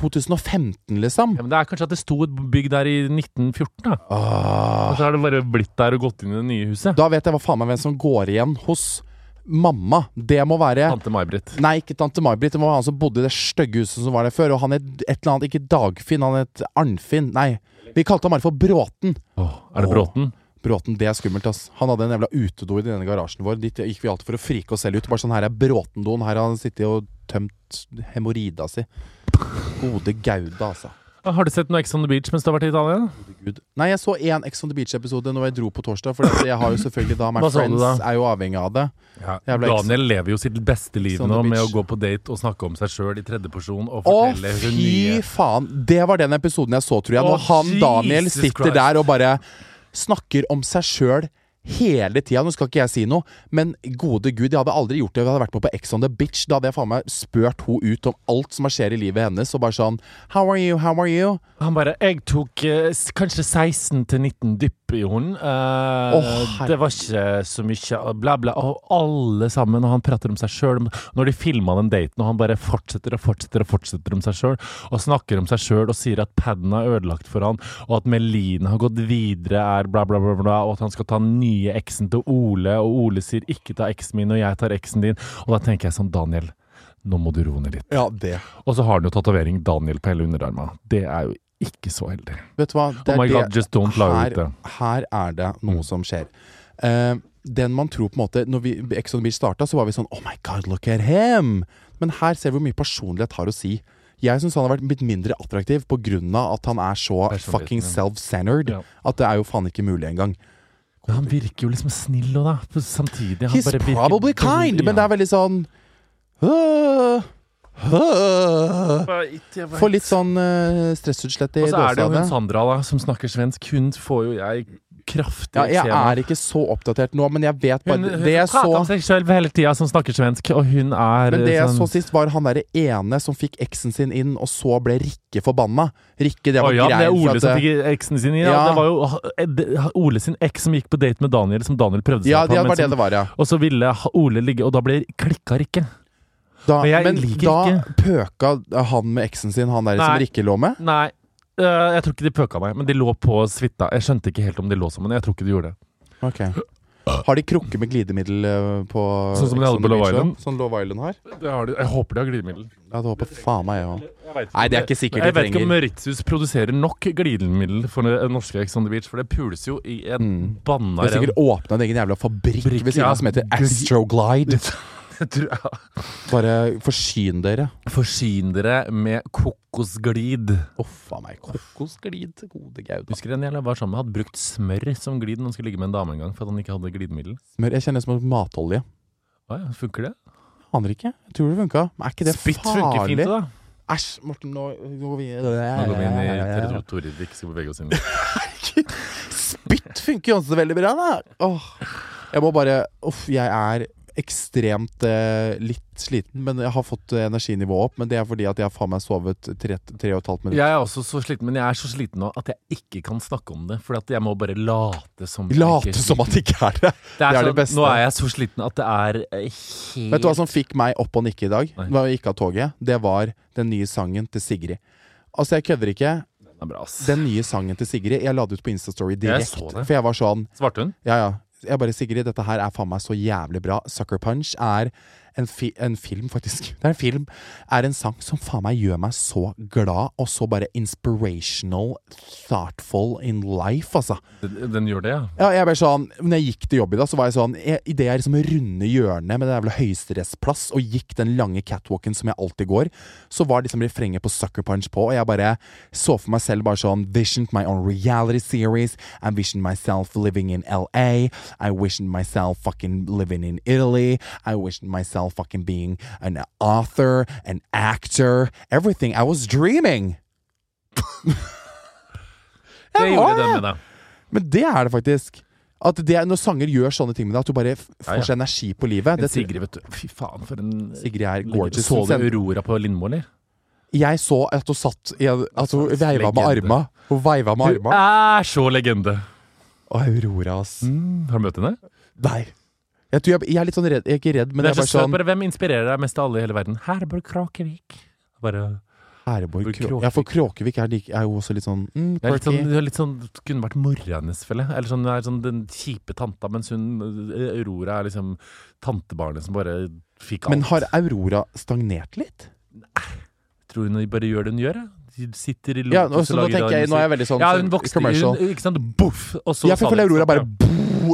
S1: 2015, liksom.
S2: Ja, men det er kanskje at det sto et bygg der i 1914, da. Og så har det bare blitt der og gått inn i det nye huset.
S1: Ah. Da vet jeg hva faen meg hvem som går igjen hos mamma. Det må være
S2: Tante May-Britt.
S1: Nei, ikke tante May-Britt. Det var han som bodde i det stygge huset som var der før. Og han het et eller annet Ikke Dagfinn, han het Arnfinn. Nei. Vi kalte han bare for Bråten.
S2: Åh, er det Bråten?
S1: Bråten, det er skummelt, ass. Han hadde en jævla utedo i denne garasjen vår. Dit gikk vi alltid for å frike oss selv ut. Bare sånn her er Bråtendoen. Her har han sittet og tømt hemoroida si. Gode gauda, altså.
S2: Ah, Har du sett noe Ex on the Beach mens du har vært i Italia?
S1: Gud. Nei, jeg så én Ex on the Beach-episode når jeg dro på torsdag. For jeg har jo selvfølgelig da My
S2: Hva så du
S1: Friends
S2: da?
S1: er jo avhengig av det. Jævla Ex-
S2: Daniel lever jo sitt beste liv
S1: Ex on
S2: nå
S1: the
S2: med å
S1: Beach.
S2: gå på date og snakke om seg sjøl i tredje person og
S1: Å,
S2: fortelle hun
S1: fy
S2: nye
S1: faen! Det var den episoden jeg så, tror jeg. Når
S2: Å,
S1: han
S2: Jesus
S1: Daniel sitter
S2: Christ.
S1: der og bare snakker om seg sjøl hele tida. Nå skal ikke jeg si noe, men gode gud, jeg hadde aldri gjort det. Jeg hadde vært med på Ex on the Bitch. Da hadde jeg faen meg spurt ho ut om alt som skjer i livet hennes, og bare sånn How are you? How are you?
S2: Han bare 'Jeg tok eh, s- kanskje 16 til 19 dypp i henne'. Eh,
S1: Å,
S2: det var ikke så mye og bla, bla. Og alle sammen, og han prater om seg sjøl. Når de filma den daten, og han bare fortsetter og fortsetter og fortsetter om seg sjøl, og snakker om seg sjøl og sier at paden er ødelagt for han, og at Melina har gått videre, er bla, bla, bla, bla, og at han skal ta den nye eksen til Ole, og Ole sier 'ikke ta eksen min', og jeg tar eksen din. Og da tenker jeg sånn, Daniel, nå må du roe ned litt.
S1: Ja, det.
S2: Og så har han jo tatovering Daniel på hele underarmen. Det er jo ikke så heldig.
S1: Vet du hva? Det
S2: Oh my
S1: er
S2: god,
S1: det-
S2: just don't lie
S1: her,
S2: ut det. Mm.
S1: her er det noe som skjer. Eh, den man tror på en måte Når vi, Ex on the Beach starta, så var vi sånn Oh my god, look at him! Men her ser vi hvor mye personlighet har å si. Jeg syns han har vært blitt mindre attraktiv pga. at han er så
S2: Personligheten,
S1: fucking
S2: ja.
S1: self-centered
S2: Ja.
S1: at det er jo faen ikke mulig engang.
S2: Men han virker jo liksom snill og da, på- samtidig. Han
S1: He's
S2: bare virker-
S1: probably kind, men det er veldig sånn «Åh, åh».
S2: Ja.
S1: Får litt sånn eh, stressutslett i
S2: Og så er det jo sånn hun
S1: dåsa.
S2: Sandra da, som snakker svensk. Hun får jo jeg kraftig
S1: Ja, jeg
S2: eksem av.
S1: er ikke så oppdatert nå, men jeg vet bare
S2: Hun, hun
S1: det jeg
S2: prater
S1: så
S2: om seg selv hele tida som snakker svensk, og hun er
S1: Men det
S2: eh,
S1: jeg
S2: sånn
S1: så sist, var han derre ene som fikk eksen sin inn, og så ble Rikke forbanna. Rikke, det
S2: Å
S1: var
S2: ja, det
S1: greit.
S2: er Ole
S1: for
S2: som
S1: at det-
S2: fikk eksen sin inn. Ja.
S1: Ja.
S2: Det var jo eh, det- Ole sin eks som gikk på date med Daniel, som Daniel prøvde seg
S1: ja,
S2: på.
S1: det
S2: men
S1: var det
S2: som-
S1: det var, ja.
S2: Og så ville Ole ligge, og da ble klikka Rikke.
S1: Da,
S2: sånn- Men jeg
S1: men
S2: liker
S1: da
S2: ikke.
S1: pøka han med eksen sin, han der som
S2: Nei.
S1: Rikke lå med.
S2: Nei, øh, jeg tror ikke de pøka meg, men de lå på suita. Jeg skjønte ikke helt om de lå sammen. Jeg tror ikke de gjorde det.
S1: Ok Har de krukker med glidemiddel eh, på
S2: Sånn som de hadde
S1: Ex on the
S2: på Love
S1: Beach, da?
S2: Island?
S1: Sånn Love Island har?
S2: Det har de. Jeg håper de har glidemiddel.
S1: Ja, det håper faen meg jeg òg. Nei,
S2: Nei,
S1: det er ikke sikkert
S2: Jeg
S1: de
S2: vet ikke om
S1: trenger.
S2: Mauritius produserer nok glidemiddel for det norske Ex on the Beach, for det pules jo i en banna
S1: Det er
S2: ren
S1: Mm. sikkert åpna en egen jævla fabrikk
S2: Fabrikk,
S1: ved siden
S2: ja.
S1: av som heter Astroglide.
S2: Jeg tror- ja.
S1: Bare forsyn dere.
S2: Forsyn dere med kokosglid.
S1: Å, faen meg. Kokosglid til gode gauda.
S2: Husker en jeg var sammen med, hadde brukt smør som glid når han skulle ligge med en dame en gang for at han ikke hadde glidemiddel.
S1: Smør. Jeg kjenner det som matolje.
S2: Å ja, funker det?
S1: Aner ikke. Jeg tror det funka. Men er ikke det
S2: Spytt funker fint,
S1: farlig?
S2: det, da.
S1: Æsj, Morten, nå nå går vi
S2: Nå går vi inn i territoriet vi ikke skal bevege oss inn i.
S1: Spytt funker jo også veldig bra, da. Åh. Jeg må bare Uff, jeg er ekstremt eh, litt sliten, men jeg har fått eh, energinivået opp. Men det er fordi at jeg har faen meg sovet tre, tre og et halvt minutt.
S2: Jeg er også så sliten, men jeg er så sliten nå at jeg ikke kan snakke om det. For at jeg må bare late som jeg ikke
S1: Late
S2: er
S1: som
S2: sliten.
S1: at det ikke er det.
S2: det er,
S1: det er det
S2: sånn-
S1: beste.
S2: Nå er jeg så sliten at det er eh, helt
S1: Vet du hva som fikk meg opp og nikke i dag?
S2: Nei.
S1: Da jeg gikk av toget Det var den nye sangen til Sigrid. Altså, jeg kødder ikke.
S2: Det er bra, ass.
S1: Den nye sangen til Sigrid Jeg la det ut på Instastory direkte.
S2: så det.
S1: For jeg var sånn
S2: Svarte hun?
S1: Ja, ja. Jeg bare, Sigrid, dette her er faen meg så jævlig bra. Sucker Punch er en, fi en film, faktisk. Det er en film. Er en sang som faen meg gjør meg så glad, og så bare inspirational, thoughtful in life, altså.
S2: Den, den gjør det, ja.
S1: Ja, jeg ble sånn Når jeg gikk til jobb i dag, så var jeg sånn jeg- i det jeg liksom runde hjørnet med den jævla høyesterettsplass og gikk den lange catwalken som jeg alltid går, så var liksom refrenget på Sucker Punch på, og jeg bare så for meg selv bare sånn Visioned my own reality series. I visioned myself living in LA. I visioned myself fucking living in Italy. I visioned myself fucking being an author, an actor. Everything. I was dreaming.
S2: Det
S1: Jeg var
S2: gjorde
S1: det.
S2: den med deg.
S1: Men det er det faktisk. At det, er- når sanger gjør sånne ting med deg, at du bare f-
S2: Ja, ja.
S1: får seg energi på
S2: Men
S1: livet. Det,
S2: Sigrid, vet du. Fy faen, for en
S1: Sigrid er
S2: Ligger-
S1: gorgeous.
S2: Så
S1: Hun
S2: du
S1: sender-
S2: Aurora på Lindmo, eller?
S1: jeg så at hun satt i en, At hun veiva med
S2: Altså, Legende.
S1: arma. Hun veiva med
S2: Hun
S1: arma.
S2: er så legende!
S1: Og Aurora, ass.
S2: Har du møtt henne?
S1: Nei. Jeg, tror jeg, jeg er litt sånn redd. Jeg er ikke redd, men
S2: det
S1: jeg
S2: er så
S1: er bare
S2: søt,
S1: sånn
S2: bare Hvem inspirerer deg mest av alle i hele verden? Herborg Krakevik. Bare,
S1: Herborg
S2: Hvor
S1: Krå- Ja, for Kråkevik er, lik- er jo også litt sånn mm,
S2: det er litt sånn,
S1: quirky.
S2: det er litt sånn det kunne vært mora hennes, føler jeg. Eller sånn, det er sånn den kjipe tanta, mens hun eh, Aurora er liksom tantebarnet som bare fikk alt.
S1: Men har Aurora stagnert litt?
S2: Tror hun bare gjør det hun gjør? jeg? De sitter i
S1: Ja,
S2: lotus
S1: nå, så nå tenker jeg Nå er jeg veldig sånn
S2: Ja,
S1: sånn
S2: hun vokste
S1: commercial.
S2: Hun, ikke sant? Boff! Og så Mm.
S1: Ja, for jeg
S2: sa
S1: føler
S2: det-
S1: Aurora bare bo,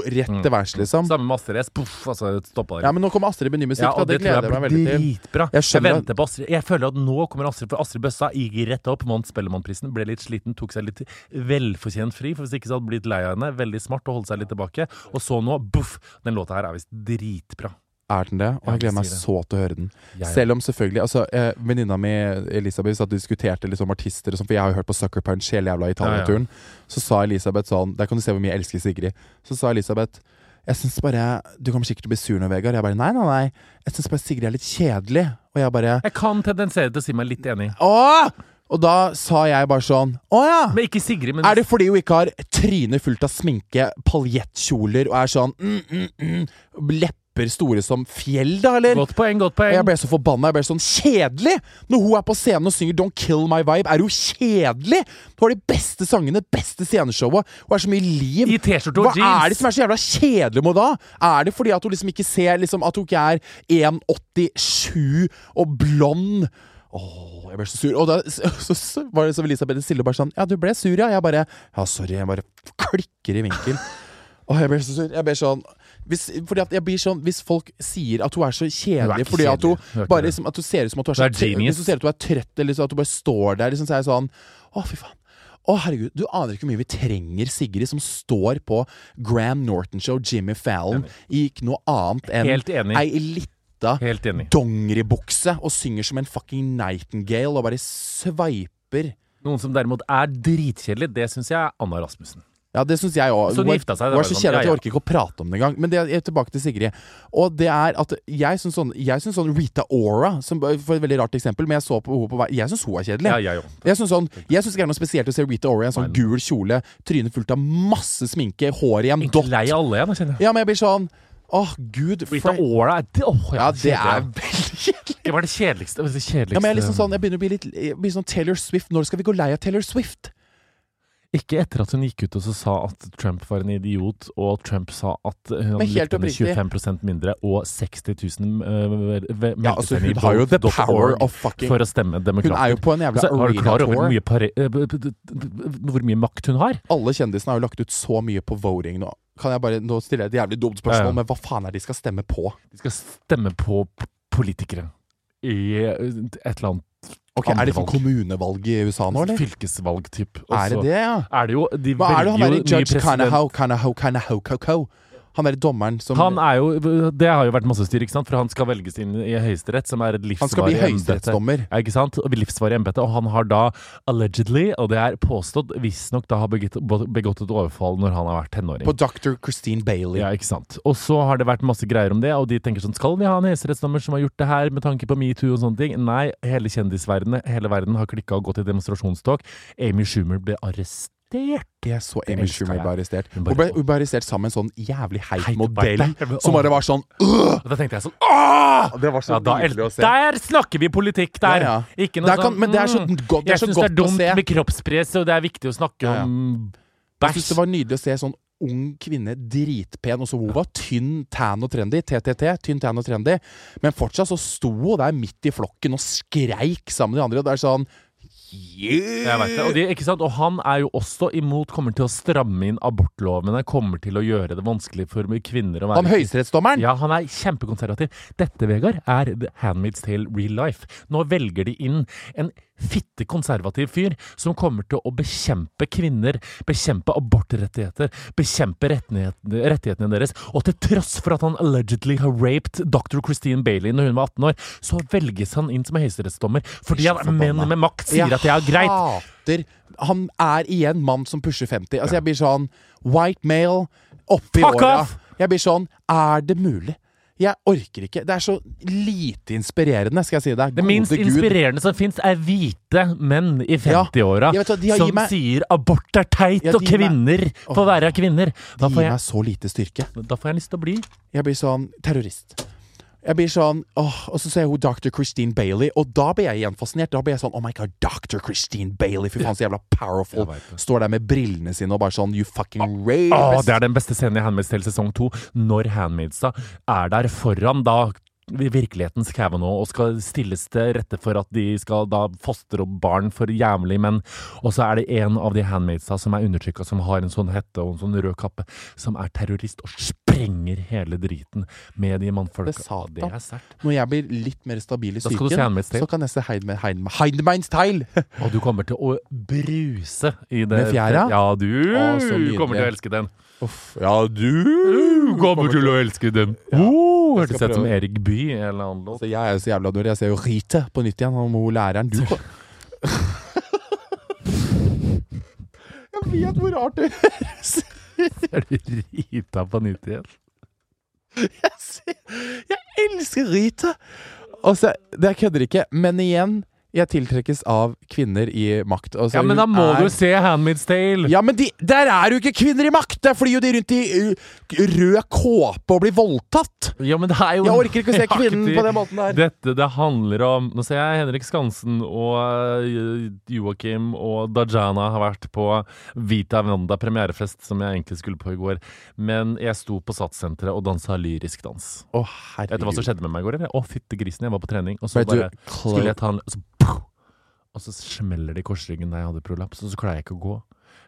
S1: rett til værs,
S2: ja.
S1: liksom.
S2: Samme med Astrid S. Boff! Og så stoppa det.
S1: Ja, men nå kommer Astrid med ny musikk,
S2: Ja,
S1: da.
S2: og det,
S1: Det
S2: tror
S1: gleder jeg
S2: jeg
S1: meg
S2: blir
S1: veldig til.
S2: dritbra.
S1: Jeg
S2: Jeg,
S1: skjønner-
S2: venter på Astrid. Jeg føler at nå kommer Astrid, for Astrid Bøssa gikk rett opp. Mant Spellemannprisen ble litt sliten, tok seg litt velfortjent fri, for hvis ikke så hadde hun blitt lei av henne. Veldig smart og holdt seg litt tilbake. Og så nå, boff! Den låta her er visst dritbra.
S1: Er den det? Og
S2: Ja,
S1: jeg gleder
S2: de
S1: meg
S2: sier det.
S1: så til å høre den.
S2: Jeg-
S1: Selv om selvfølgelig altså, eh, Venninna mi Elisabeth satt og diskuterte liksom artister, og sånn, for jeg har jo hørt på Sucker Punch hele jævla Italia-turen. Så sa Elisabeth sånn Der kan du se hvor mye jeg elsker Sigrid. Så sa Elisabeth Jeg syns bare Du kommer sikkert til å bli sur nå, Vegard. Jeg bare Nei, nei, nei. Jeg syns bare Sigrid er litt kjedelig. Og jeg bare
S2: Jeg kan tendensere til å si meg litt enig.
S1: Åh! Og da sa jeg bare sånn Å ja!
S2: Men ikke Sigrid, men
S1: Er det fordi hun ikke har trynet fullt av sminke, paljettkjoler og er sånn mm, mm, mm, Lepper store som fjell, da, eller?
S2: Godt poeng, godt
S1: Og
S2: poeng.
S1: Jeg ble så forbanna. Jeg ble sånn Kjedelig! Når hun er på scenen og synger 'Don't Kill My Vibe', er hun kjedelig! Hun har de beste sangene, beste sceneshowet, hun er så mye liv.
S2: I T-skjorte
S1: Hva
S2: og
S1: er
S2: jeans.
S1: det som er så jævla kjedelig med henne da? Er det fordi at hun liksom ikke ser liksom, At hun ikke er 1,87 og blond? Åh, jeg ble så sur. Og da så, så, så var det som Elisabeth stille bare sånn Ja, du ble sur, ja? Jeg bare Ja, sorry. Jeg bare klikker i vinkel. Åh, jeg ble så sur. Jeg ble sånn hvis, fordi at jeg blir sånn, hvis folk sier at hun er så
S2: Hun er
S1: kjedelig
S2: ikke
S1: fordi at hun,
S2: kjedelig. Hun er ikke
S1: bare
S2: det.
S1: liksom, at hun ser ut som at hun
S2: Hun
S1: er så
S2: er
S1: trøtt-
S2: genius.
S1: Hvis hun ser ut at hun er trøtt, eller liksom, at hun bare står der, liksom, så er jeg sånn Å, fy faen. Å, herregud, du aner ikke hvor mye vi trenger Sigrid, som står på Graham Norton Show, Jimmy Fallon, i ikke noe annet enn
S2: Helt enig.
S1: ei lita
S2: Helt enig.
S1: dongeribukse og synger som en fucking nightingale og bare sveiper.
S2: Noen som derimot er dritkjedelig, det syns jeg er Anna Rasmussen.
S1: Ja, det syns jeg òg.
S2: Så de gifta seg, det
S1: Hun
S2: var
S1: er så
S2: sånn,
S1: kjedelig
S2: ja,
S1: at jeg
S2: ja.
S1: orker ikke å prate om det engang. Men det er tilbake til Sigrid. Og det er at jeg syns sånn, jeg synes sånn Rita Ora, som, for et veldig rart eksempel, men jeg så på henne på vei Jeg syns hun er kjedelig.
S2: Ja, jeg òg.
S1: Jeg syns sånn, jeg synes ikke det er noe spesielt å se Rita Ora i en sånn gul kjole, trynet fullt av masse sminke, hår i en dott.
S2: Lei av alle, jeg nå, kjenner jeg.
S1: Ja, men jeg blir sånn Åh, gud.
S2: Rita
S1: Frank-
S2: Ora er det, åh,
S1: ja, det er
S2: kjedelig.
S1: veldig kjedelig.
S2: Det var det kjedeligste. Det kjedeligste.
S1: liksom Ja, men jeg, er liksom sånn, jeg begynner å bli litt jeg blir sånn Taylor Swift. Når skal vi gå lei av Taylor Swift?
S2: Ikke etter at hun gikk ut og så sa at Trump var en idiot, og at Trump sa at hun
S4: Men
S2: hadde
S4: helt
S2: likt henne
S4: oppriktig.
S2: 25 mindre, og 60 000 eh, ve- ve-
S1: Ja, altså,
S2: meldte seg
S1: hun
S2: inn i
S1: har jo the
S2: dot-
S1: power
S2: dot org
S1: of fucking
S2: for å stemme
S1: Hun er jo
S2: demokratisk.
S1: på en jævla
S2: Så er du
S1: arena
S2: klar over
S1: tour.
S2: hvor mye, pare, eh, b- b- b- b- hvor mye makt hun har?
S1: Alle kjendisene har jo lagt ut så mye på voting nå. Kan jeg bare, Nå stiller jeg et jævlig
S2: Ja,
S1: dumt
S2: ja.
S1: spørsmål, men hva faen er det de skal stemme på?
S2: De skal stemme på p- politikere i eh, et eller annet
S1: Ok, Er
S2: Andre
S1: det sånn
S2: valg. Altså,
S1: kommunevalg i USA nå, eller?
S2: fylkesvalg-type.
S1: Er det det, ja?
S2: Er det jo, de
S1: Hva er det han
S2: velger
S1: derre
S2: jo ny
S1: judge
S2: president.
S1: Kanahow, Kanahow, Kanahow, Koko? Han derre dommeren som
S2: Han er jo, det har jo vært masse styr, ikke sant? for han skal velges inn i Høyesterett, som er et
S1: Han skal bli
S2: livsvarig embete.
S1: høyesterettsdommer.
S2: Ja, ikke sant? Og Livsvarig embete. Og han har da allegedly, og det er påstått, visstnok da har begått, begått et overfall når han har vært tenåring.
S1: På Dr. Christine Bailey.
S2: Ja, ikke sant. Og så har det vært masse greier om det, og de tenker sånn Skal vi ha en høyesterettsdommer som har gjort det her, med tanke på metoo og sånne ting? Nei, hele kjendisverdenen, hele verden har klikka og gått i demonstrasjonstog. Amy Schumer ble arrestert.
S1: Jeg så Amy
S2: elsker
S1: Schumer
S2: jeg.
S1: ble arrestert.
S2: Hun
S1: Hun
S2: bare-
S1: ble, hun ble arrestert sammen med en sånn jævlig heit
S2: Heit
S1: modell
S2: modell.
S1: som bare var sånn
S2: Og da tenkte jeg sånn
S1: Åh! Det var så
S2: ja, da,
S1: nydelig å se.
S2: Der snakker vi politikk, der!
S1: Ja, ja.
S2: Ikke noe
S1: Der kan-
S2: sånn
S1: men det er så
S2: mm,
S1: godt- det er
S2: Jeg
S1: så
S2: syns det er
S1: godt å
S2: dumt
S1: se.
S2: med kroppspress, og det er viktig å snakke
S1: Ja, ja.
S2: om
S1: Jeg synes
S2: bæsj.
S1: det var nydelig å se sånn ung kvinne, dritpen, og så hun var tynn, tan og trendy. TTT, tynn, tan og trendy. Men fortsatt så sto hun der midt i flokken og skreik sammen med de andre, og det er sånn
S2: Jeg vet det. Og, det, ikke sant? og han er jo også imot, kommer til å stramme inn abortlovene, kommer til å gjøre det vanskelig for kvinner å være
S1: Han høyesterettsdommeren!
S2: Ja, han er kjempekonservativ. Dette, Vegard, er The Handmaid's Tale real life. Nå velger de inn en fitte konservativ fyr som kommer til å bekjempe kvinner, bekjempe abortrettigheter, bekjempe rettighetene, rettighetene deres, og til tross for at han allegedly har raped dr. Christine Bailey når hun var 18 år, så velges han inn som høyesterettsdommer fordi han er menn med makt sier at det er greit.
S1: hater Han er igjen mann som pusher 50. Altså, jeg blir sånn White male, oppi
S2: Fuck
S1: åra.
S2: off!
S1: Jeg blir sånn Er det mulig? Jeg orker ikke. Det er så lite inspirerende, skal jeg si deg.
S2: Det minst inspirerende som fins, er hvite menn i 50-åra
S1: jeg vet hva, de har
S2: som
S1: gitt meg-
S2: sier 'abort er teit',
S1: Ja,
S2: og
S1: de gir meg-
S2: kvinner får være kvinner. Da
S1: Det
S2: får,
S1: gir meg
S2: jeg,
S1: så lite styrke.
S2: da får jeg lyst til å bli.
S1: Jeg blir sånn terrorist. Jeg blir sånn, åh, Og så ser jeg hun Dr. Christine Bailey, og da blir jeg igjen fascinert. Da blir jeg sånn Oh my god, Dr. Christine Bailey! Fy faen, så jævla powerful. Står der med brillene sine og bare sånn You fucking
S2: Å,
S1: rapist!
S2: det er den beste scenen i Handmaids Tale sesong to, når handmaidsa er der foran da virkelighetens Kavanaugh og skal stilles til rette for at de skal da fostre opp barn for jævlig menn. Og så er det en av de handmaidsa som er undertrykka, som har en sånn hette og en sånn rød kappe, som er terrorist og sprenger hele driten med de mannfolka.
S1: Det sa
S2: det er sterkt.
S1: Når jeg blir litt mer stabil i
S2: Da skal du se
S1: psyken,
S2: Handmaid's Tale.
S1: så kan jeg se Heidme- Heidme- Heidmeins Tale!
S2: Og du kommer til å bruse i det
S1: Med fjæra?
S2: Ja, du
S1: Å, så nydelig.
S2: kommer til å elske den.
S1: Uff. Ja, du Uh,
S2: Du kommer til å elske den. Oh, Hørtes ut som Erik Bye eller annen låt.
S1: Så Altså, Jeg er jo så jævla dårlig. Jeg ser jo Rite på nytt igjen, om hun læreren du Jeg vet hvor rart det høres
S2: Er du rita på nytt igjen?
S1: Jeg ser- Jeg elsker Rita! Altså, det jeg kødder ikke, men igjen Jeg tiltrekkes av kvinner i makt. Altså,
S2: Ja, men da
S1: hun
S2: må
S1: er-
S2: du se Handmaid's Tale!
S1: Ja, men de, der er jo ikke kvinner i makt! Der flyr jo de rundt i uh, rød kåpe og blir voldtatt!
S2: Ja, men det er jo
S1: Jeg orker ikke å se
S2: Jeg har ikke
S1: kvinnen
S2: tid.
S1: på den måten der.
S2: Dette det handler om Nå ser jeg Henrik Skansen og eh, Joakim og Dajana har vært på Vita Wanda premierefest, som jeg egentlig skulle på i går. Men jeg sto på Satssenteret og dansa lyrisk dans.
S1: Å,
S2: Vet du hva som
S1: herregud.
S2: skjedde med meg i går? eller? Å, fytte grisen, jeg var på trening, og så
S1: Ble du
S2: bare
S1: klo-
S2: skulle jeg ta en og så, pow! og så smeller det i korsryggen der jeg hadde prolaps, og så klarer jeg ikke å gå.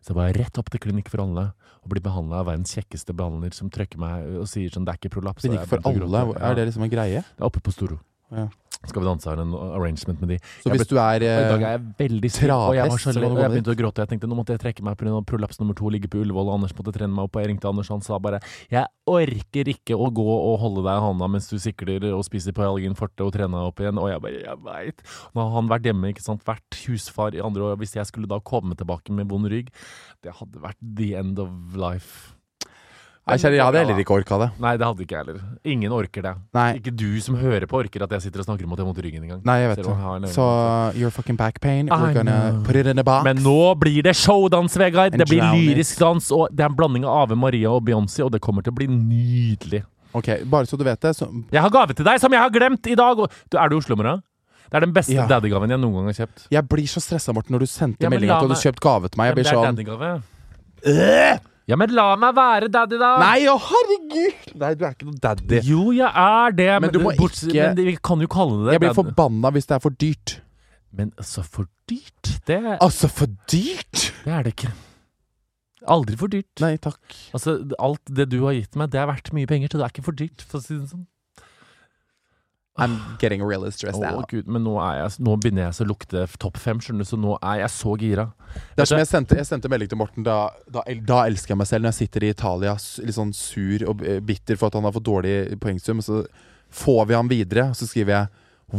S2: Så jeg var rett opp til Klinikk for alle og blir behandla av verdens kjekkeste behandler, som trykker meg og sier sånn 'det er ikke prolaps'. og
S1: Men ikke
S2: jeg
S1: for
S2: begynte å
S1: alle.
S2: gråte.
S1: Er det liksom en greie?
S2: Ja, det er oppe på Storo.
S1: Ja.
S2: Skal vi danse har en arrangement med de.
S1: Så
S2: Jeg
S1: hvis du
S2: og
S1: er
S2: I dag
S1: eh,
S2: er jeg veldig stiv, og jeg, var
S1: travhest,
S2: så
S1: eller
S2: lei,
S1: hva
S2: og
S1: det
S2: jeg
S1: heter.
S2: begynte å gråte. og Jeg tenkte nå måtte jeg trekke meg pga. prolaps nummer to, ligge på Ullevål, og Anders måtte trene meg opp. Og jeg ringte Anders, han sa bare jeg orker ikke å gå og holde deg i hånda mens du sikler og spiser på Helgen Forte og trener deg opp igjen. Og jeg bare jeg veit. Nå har han vært hjemme, ikke sant, vært husfar i andre år. Hvis jeg skulle da komme tilbake med vond rygg, det hadde vært the end of life.
S1: Nei, kjære, jeg hadde heller ikke orka det.
S2: Nei, det hadde ikke jeg heller. Ingen orker det.
S1: Nei.
S2: Ikke du som hører på, orker at jeg sitter og snakker om at jeg har vondt i ryggen engang.
S1: Nei, jeg vet
S2: Selv om jeg har en
S1: det.
S2: øvelse.
S1: Så your fucking back pain,
S2: I
S1: we're gonna
S2: know.
S1: put it in a box.
S2: Ah, Men nå blir det showdans, Vegard.
S1: And
S2: Det blir
S1: drown it.
S2: lyrisk dans, og det er en blanding av Ave Maria og Beyoncé, og det kommer til å bli nydelig.
S1: Ok, bare så du vet det, så
S2: Jeg har gave til deg som jeg har glemt i dag! og- Du, er du i Oslo-mora? Det er den beste
S1: Ja.
S2: daddygaven jeg noen gang har kjøpt.
S1: Jeg blir så stressa, Morten, når du sendte
S2: Ja, men
S1: meldinga
S2: la
S1: at du hadde
S2: meg-
S1: kjøpt gave til meg.
S2: Men
S1: Jeg blir
S2: det er
S1: sånn
S2: daddygave. Ja, men la meg være daddy, da!
S1: Nei, å herregud! Nei, du er ikke noe daddy.
S2: Jo, jeg er det, men,
S1: du må
S2: borts-
S1: ikke-
S2: men vi kan jo kalle det
S1: Jeg blir
S2: daddy.
S1: forbanna hvis det er for dyrt.
S2: Men altså, for dyrt? Det,
S1: Altså, for dyrt?!
S2: det er det ikke. Aldri for dyrt.
S1: Nei takk.
S2: Altså, alt det du har gitt meg, det er verdt mye penger, så det er ikke for dyrt, for å si det sånn.
S1: I'm getting really stressed
S2: Å,
S1: out.
S2: Gud, men nå, er jeg, nå begynner jeg så å lukte topp fem, skjønner du, så nå er jeg så gira.
S1: Det er som jeg sendte, jeg sendte melding til Morten da, da, el- da elsker jeg meg selv. Når jeg sitter i Italia s- litt sånn sur og eh, bitter for at han har fått dårlig poengsum, så får vi han videre. Så skriver jeg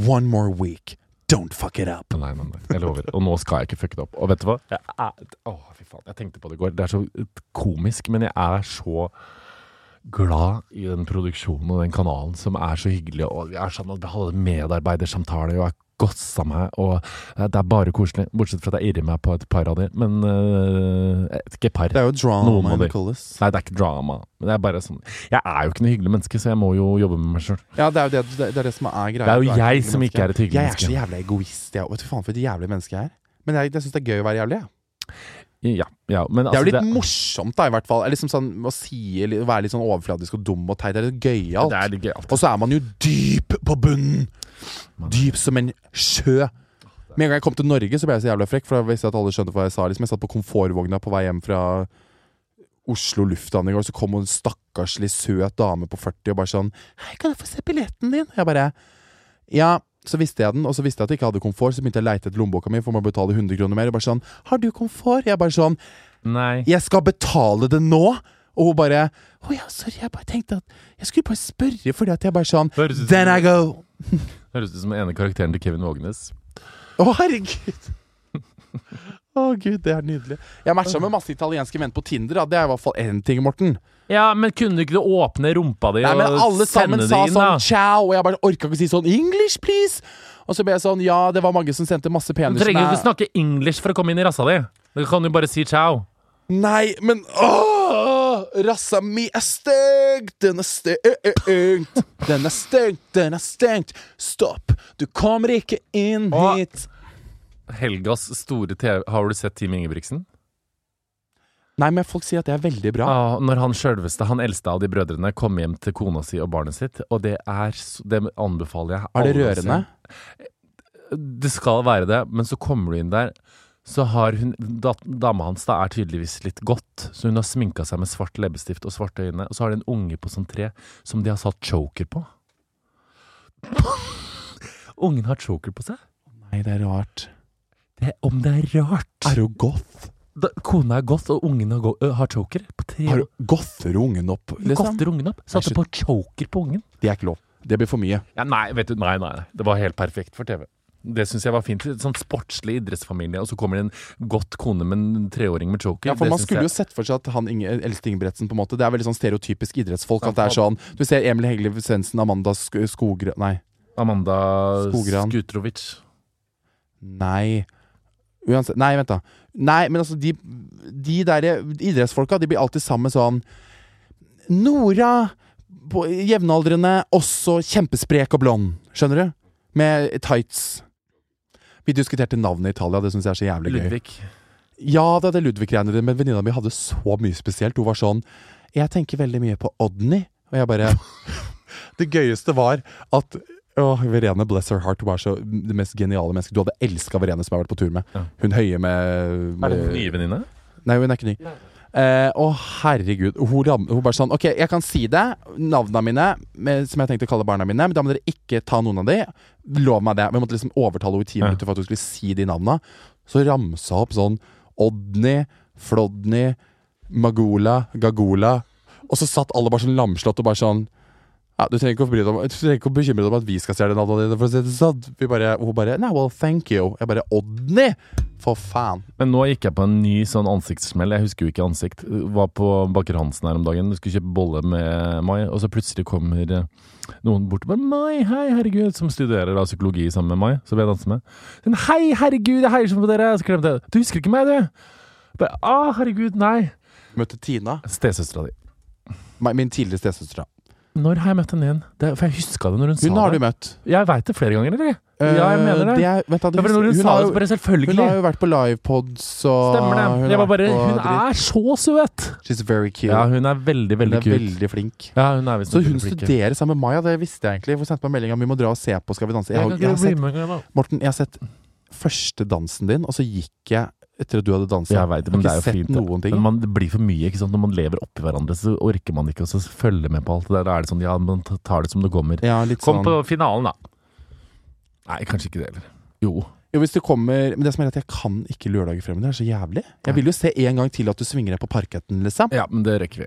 S1: One more week. Don't fuck it up.
S2: Nei, nei, nei, jeg lover. Og nå skal jeg ikke fucke det opp. Og vet du hva? Jeg er, å, fy faen. Jeg tenkte på det i går. Det er så eh, komisk, men jeg er så glad i den produksjonen og den kanalen som er så hyggelig. Og jeg er sånn at jeg hadde medarbeidersamtale, og jeg godsa meg, og eh, det er bare koselig. Bortsett fra at jeg irrer meg på et par av de, men eh, ikke par.
S1: Det er jo
S2: Noen må
S1: drama,
S2: de.
S1: Nicholas.
S2: Nei, det er ikke drama. Men det er bare sånn Jeg er jo ikke noe hyggelig menneske, så jeg må jo jobbe med meg sjøl.
S1: Ja, det er jo det, det, det, er det som er greia.
S2: Det er jo
S1: Du et
S2: jeg
S1: hyggelig
S2: som
S1: menneske.
S2: ikke er et hyggelig
S1: Jeg er
S2: menneske.
S1: så jævla egoist. Jeg. Vet du faen for et jævlig menneske jeg er. Men jeg, jeg syns det er gøy å være jævlig. Jeg.
S2: Ja, ja, men
S1: det er
S2: altså
S1: jo litt morsomt, da, i hvert fall. Eller liksom sånn, å si, eller være litt sånn overfladisk og dum og teit. Det er litt gøyalt.
S2: Det er litt gøyalt.
S1: Og så er man jo dyp på bunnen. Dyp som en sjø. Med en gang jeg kom til Norge, så ble jeg så jævla frekk. For da visste jeg at alle skjønte hva jeg sa. Liksom. Jeg satt på komfortvogna på vei hjem fra Oslo lufthavn i går, så kom en stakkarslig søt dame på 40 og bare sånn 'Hei, kan jeg få se billetten din?' Jeg bare Ja. Så visste jeg den, og så visste jeg at jeg ikke hadde komfort, så begynte jeg å leite etter lommeboka mi, for man betaler 100 kroner mer. Og bare sånn 'Har du komfort?' Jeg bare sånn
S2: Nei.
S1: jeg skal betale det nå. Og hun bare Å ja, sorry, jeg bare tenkte at Jeg skulle bare spørre, fordi at jeg bare sånn
S2: Høres ut som-
S1: Then I go.
S2: Høres ut som den ene karakteren til Kevin Vågenes.
S1: Å, herregud. Å, gud, det er nydelig. Jeg matcha med masse italienske menn på Tinder. Da. Det er i hvert fall én ting, Morten.
S2: Ja, men kunne du ikke åpne rumpa di
S1: Nei, men alle
S2: og sende
S1: sammen
S2: det
S1: sa
S2: inn,
S1: sånn
S2: da?
S1: ciao, og jeg bare orka ikke å si sånn English, please! Og så ble jeg sånn Ja, det var mange som sendte masse
S2: Du
S1: peniser.
S2: trenger jo ikke
S1: Nei,
S2: snakke english for å komme inn i rassa di. Du kan jo bare si ciao.
S1: Nei, men åh! Rassa mi er stengt! Den er stengt! Den er stengt! Den er stengt! Stopp! Du kommer ikke inn
S2: Åh.
S1: hit!
S2: Helgas store TV Har du sett Team Ingebrigtsen?
S1: Nei, men folk sier at det er veldig bra.
S2: Ah, når han sjølveste, han eldste av de brødrene, kom hjem til kona si og barnet sitt, og det er så- Det anbefaler jeg.
S1: Er det
S2: alle å se.
S1: rørende?
S2: Det skal være det, men så kommer du inn der så har hun, dat, Dama hans da er tydeligvis litt godt, så hun har sminka seg med svart leppestift og svarte øyne. Og så har de en unge på sånn tre som de har satt choker på. Ungen har choker på seg?
S1: Nei, det er rart.
S2: Det, om det er rart!
S1: Er hun goth?
S2: Da, kona er goth, og ungen har, go ø, har choker. På tre
S1: Har
S2: år.
S1: hun gother ungen opp, liksom?
S2: Godter ungen opp. Satte
S1: shit.
S2: på choker på ungen.
S1: Det er ikke lov. Det blir for mye.
S2: Ja, nei, vet du, nei, nei, nei. det var helt perfekt for TV. Det syns jeg var fint. Litt Sånn sportslig idrettsfamilie, og så kommer det en godt kone med en treåring med choker.
S1: Ja, for
S2: Det
S1: Man
S2: syns
S1: skulle jo
S2: jeg-
S1: sett for seg at han Inge, eldste Ingebretsen på en måte Det er veldig sånn stereotypisk idrettsfolk. At det er sånn Du ser Emil Hegle Svendsen, Amanda Sk Skogre... Nei.
S2: Amanda
S1: Skogran.
S2: Skutrovic.
S1: Nei. Uansett Nei, vent, da. Nei, men altså, de, de der idrettsfolka, de blir alltid sammen med sånn Nora på jevnaldrende, også kjempesprek og blond. Skjønner du? Med tights. Vi diskuterte navnet i Italia, det syns jeg er så jævlig gøy.
S2: Ludvig.
S1: Ja, det er det Ludvig-greiene dine, men venninna mi hadde så mye spesielt. Hun var sånn Jeg tenker veldig mye på Odny. Og jeg bare Det gøyeste var at Åh, Verene, bless her heart, hun var så det mest geniale mennesket. Du hadde elska Verene, som jeg har vært på tur med.
S2: Ja.
S1: Hun høye med,
S2: Er
S1: med
S2: det en nye venninne?
S1: Nei, hun er ikke ny. Eh, å, herregud. Hun, ram, hun bare sånn Ok, jeg kan si det. Navna mine, med, som jeg tenkte å kalle barna mine. Men da må dere ikke ta noen av de. Lov meg det. Vi måtte liksom overtale henne i ti
S2: Ja.
S1: minutter for at hun skulle si de navna. Så ramsa hun opp sånn Odny, Flodny, Magula, Gagula. Og så satt alle bare sånn lamslått og bare sånn ja, du trenger ikke å bry deg om Du trenger ikke å bekymre deg om at vi skal stjele navnene dine. For å si det sånn. Vi bare, hun bare Nei, well, thank you. Jeg bare Odny! For faen.
S2: Men nå gikk jeg på en ny sånn ansiktssmell. Jeg husker jo ikke ansikt. Var på Baker Hansen her om dagen. Skulle kjøpe bolle med Mai, og så plutselig kommer eh, noen bort og bare 'Mai, hei, herregud', som studerer da psykologi sammen med Mai, som jeg danser med. Sånn, 'Hei, herregud, jeg heier sånn på dere'. Så glemte jeg 'Du husker ikke meg, du?' Bare 'Å, herregud, nei'.
S1: Møtte Tina.
S2: Stesøstera di.
S1: Min min tidligere stesøster, da.
S2: Når har jeg møtt henne igjen? Det, er- for jeg huska det når hun sa
S1: Hun har
S2: det.
S1: du møtt.
S2: Jeg veit det flere ganger, eller? ja, jeg mener det.
S1: Eh, er- vent da,
S2: Ja,
S1: det
S2: for når hun,
S1: hun,
S2: sa
S1: har
S2: det, så
S1: jo,
S2: bare selvfølgelig.
S1: hun har jo vært på livepods og
S2: Stemmer det.
S1: hun
S2: jeg var
S1: har
S2: bare,
S1: vært på
S2: hun
S1: dritt.
S2: er så søt!
S1: She's very cute.
S2: Ja, hun er veldig,
S1: hun
S2: veldig
S1: er
S2: kul.
S1: veldig flink.
S2: Ja, hun er visst
S1: Så
S2: en
S1: hun
S2: veldig flink.
S1: studerer sammen med Maja, det visste jeg egentlig. Hun sendte meg en melding om vi må dra og se på Skal vi danse. Jeg,
S2: Jeg
S1: har-
S2: kan
S1: jeg
S2: ikke
S1: har
S2: bli
S1: sett,
S2: med engang, da.
S1: Morten, jeg har sett første dansen din, og så gikk jeg etter at du hadde dansa.
S2: Jeg vet det, men det er jo
S1: ikke
S2: fint.
S1: sett
S2: det.
S1: noen ting.
S2: Men man, det blir for mye ikke sant? når man lever oppi hverandre. Så orker man ikke å så følge med på alt det der. Da er det sånn, ja, man ta- tar det som det kommer.
S1: Ja, litt
S2: Kom
S1: sånn.
S2: på finalen, da. Nei, kanskje ikke det heller. Jo.
S1: Jo, hvis du kommer Men det som er at jeg kan ikke lørdager fremover. Det er så jævlig. Jeg vil jo se en gang til at du svinger deg på parketten, liksom.
S2: Ja, men det rekker vi.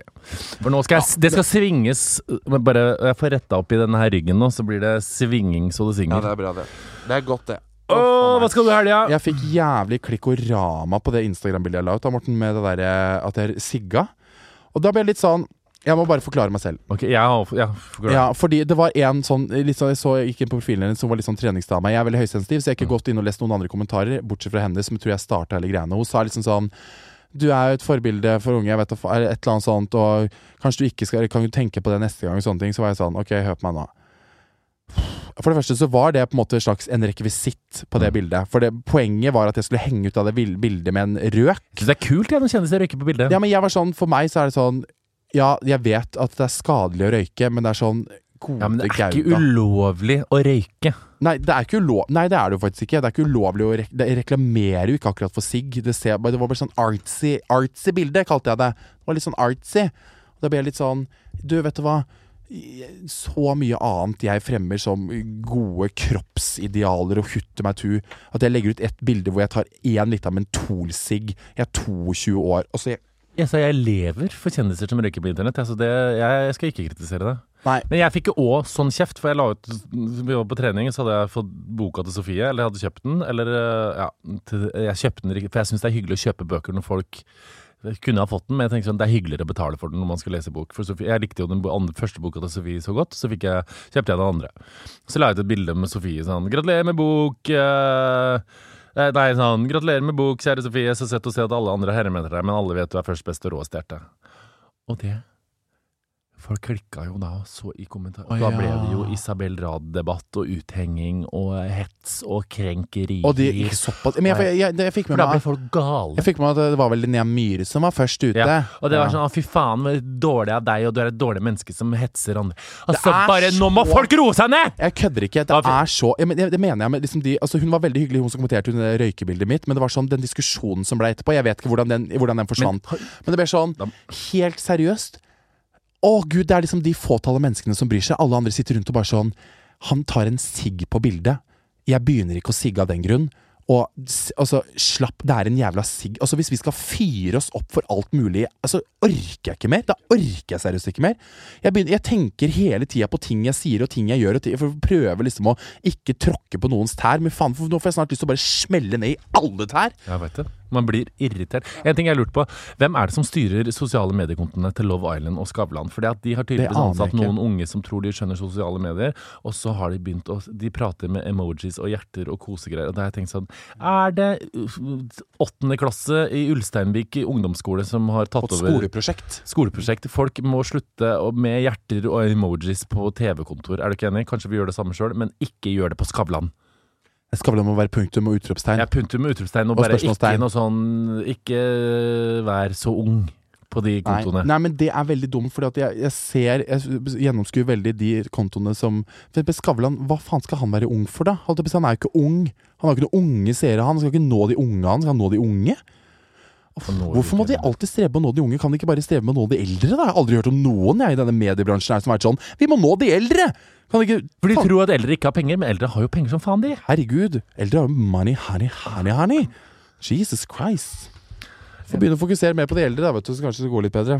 S2: For nå skal jeg, s- det skal svinges men Bare jeg får retta opp i denne her ryggen nå, så blir det svinging så det synger.
S5: det er bra, det. Det er godt, det.
S2: Å, hva skal du i helga?
S1: Jeg fikk jævlig klikkorama på det Instagram-bildet jeg la ut da, Morten, med det derre at jeg sigga. Og da ble jeg litt sånn Jeg må bare forklare meg selv.
S2: Ok, jeg har ja, forklar.
S1: Ja, fordi det var en sånn, litt sånn Jeg så jeg gikk inn på profilen hennes som var litt sånn treningsdame. Jeg er veldig høysensitiv, så jeg har
S2: Mm.
S1: ikke gått inn og lest noen andre kommentarer, bortsett fra hennes, som jeg tror jeg starta hele greiene. Hun sa liksom sånn du er jo et forbilde for unge, jeg vet, da fa- eller et eller annet sånt, og kanskje du ikke skal, eller kan du tenke på det neste gang, og sånne ting. Så var jeg sånn, ok, hør på meg nå. For det første så var det på en måte en slags en rekvisitt på
S2: Mm.
S1: det bildet. For det, poenget var at jeg skulle henge ut av det vil- bildet med en røk.
S2: Jeg synes det er kult jeg, når kjendiser røyker på bildet.
S1: Ja, men jeg var sånn, for meg så er det sånn, ja, jeg vet at det er skadelig å røyke, men det er sånn, gode
S2: Ja, men det er
S1: gauda.
S2: ikke ulovlig å røyke.
S1: Nei, det er ikke ulov... Nei, det er det jo faktisk ikke. Det er ikke ulovlig å rek det reklamerer jo ikke akkurat for sigg. Det, ser- det var bare sånn artsy, artsy bilde, kalte jeg det. Det var litt sånn artsy. Og da ble jeg litt sånn Du, vet du hva? Så mye annet jeg fremmer som gode kroppsidealer og hutte meg tu, at jeg legger ut et bilde hvor jeg tar én liter av en Thol-sigg. Jeg er 22 år. Og så jeg,
S2: Jeg sa jeg lever for kjendiser som røyker på internett. Altså det, jeg skal ikke kritisere det.
S1: Nei.
S2: Men jeg fikk jo òg sånn kjeft, for jeg la ut vi var på trening, så hadde jeg fått boka til Sofie, eller jeg hadde kjøpt den. Eller eh, ja, til, jeg kjøpte den ikke, for jeg syns det er hyggelig å kjøpe bøker når folk kunne ha fått den, men jeg tenkte sånn, det er hyggeligere å betale for den når man skal lese bok. For Sofie, jeg likte jo den bo- andre, første boka til Sofie så godt, så fikk jeg, kjøpte jeg den andre. Så la jeg ut et bilde med Sofie sånn 'Gratulerer med bok'. eh, eh, Nei, sånn 'Gratulerer med bok, kjære Sofie'. Så søtt å se at alle andre herremenn deg, men alle vet du er først best og råest hjerte. Og det Folk klikka jo da så i kommentarer.
S1: Å,
S2: Da ble
S1: ja.
S2: det jo Isabel Rad-debatt og uthenging og hets og krenkeri.
S1: og det gikk såpass Men jeg, jeg, jeg, jeg fikk
S2: For
S1: med
S2: da ble
S1: meg
S2: folk gale.
S1: jeg fikk med meg at det var vel Linnea Myhre som var først ute.
S2: Ja, Og det var
S1: Ja.
S2: sånn 'Å, fy faen, hvor dårlig av deg', og 'du er et dårlig menneske som hetser andre'. Altså,
S1: er
S2: bare Nå må
S1: så-
S2: folk roe seg ned!
S1: Jeg kødder ikke. Det
S2: Ja, for-
S1: er så ja, men det, det mener jeg, men liksom de, altså Hun var veldig hyggelig, hun som kommenterte under det røykebildet mitt, men det var sånn den diskusjonen som ble etterpå. Jeg vet ikke hvordan den, hvordan den forsvant. Men, det ble sånn Helt seriøst. Å gud, det er liksom de fåtallet menneskene som bryr seg. Alle andre sitter rundt og bare sånn Han tar en sigg på bildet. Jeg begynner ikke å sigge av den grunn. Og s- altså, slapp Det er en jævla sigg. Altså, hvis vi skal fyre oss opp for alt mulig, altså, orker jeg ikke mer. Da orker jeg seriøst ikke mer. Jeg, begynner, jeg tenker hele tida på ting jeg sier og ting jeg gjør, og ting, for prøver liksom å ikke tråkke på noens tær. Men faen, for nå får jeg snart lyst til å bare smelle ned i alle tær.
S2: Jeg vet det. Man blir irritert. En ting jeg lurte på, hvem er det som styrer sosiale mediekontoene til Love Island og Skavlan? Fordi at de har
S1: Det
S2: tydeligvis
S1: aner jeg
S2: ansatt
S1: ikke.
S2: noen unge som tror de skjønner sosiale medier, og så har de begynt å De prater med emojis og hjerter og kosegreier, og da har jeg tenkt sånn Er det uh, åttende klasse i Ulsteinvik i ungdomsskole som har tatt
S1: På et
S2: over
S1: skoleprosjekt.
S2: Skoleprosjekt. Folk må slutte å- med hjerter og emojis på TV-kontor. Er du ikke enig? Kanskje vi gjør det samme sjøl, men ikke gjør det på Skavlan.
S1: Jeg skal vel om å være punktum og utropstegn.
S2: Jeg punter med utropstegn og
S1: Og
S2: bare ikke
S1: spørsmålstegn.
S2: noe sånn Ikke eh, vær så ung på de
S1: Nei,
S2: kontoene.
S1: nei, men det er veldig dumt, Fordi at jeg, jeg ser Jeg gjennomskuer veldig de kontoene som For eksempel Skavlan, hva faen skal han være ung for, da? Holdt jeg på å si, Han er jo ikke ung. Han har ikke noen unge seere, han. Han skal ikke nå de unge, han. Skal han nå de unge?
S2: Og nå
S1: Hvorfor må
S2: liker
S1: de
S2: jeg det.
S1: alltid strebe med å nå de unge? Kan de ikke bare strebe med å nå de eldre? da? Jeg har aldri hørt om noen jeg i denne mediebransjen her som har vært sånn Vi må nå de eldre! Kan de ikke
S2: For de
S1: faen,
S2: tror at eldre ikke har penger, men eldre har jo penger som faen, de.
S1: Herregud, eldre har jo money, honey, honey, honey. Jesus Christ. Får begynne å fokusere mer på de eldre, da, vet du, så kanskje det går litt bedre.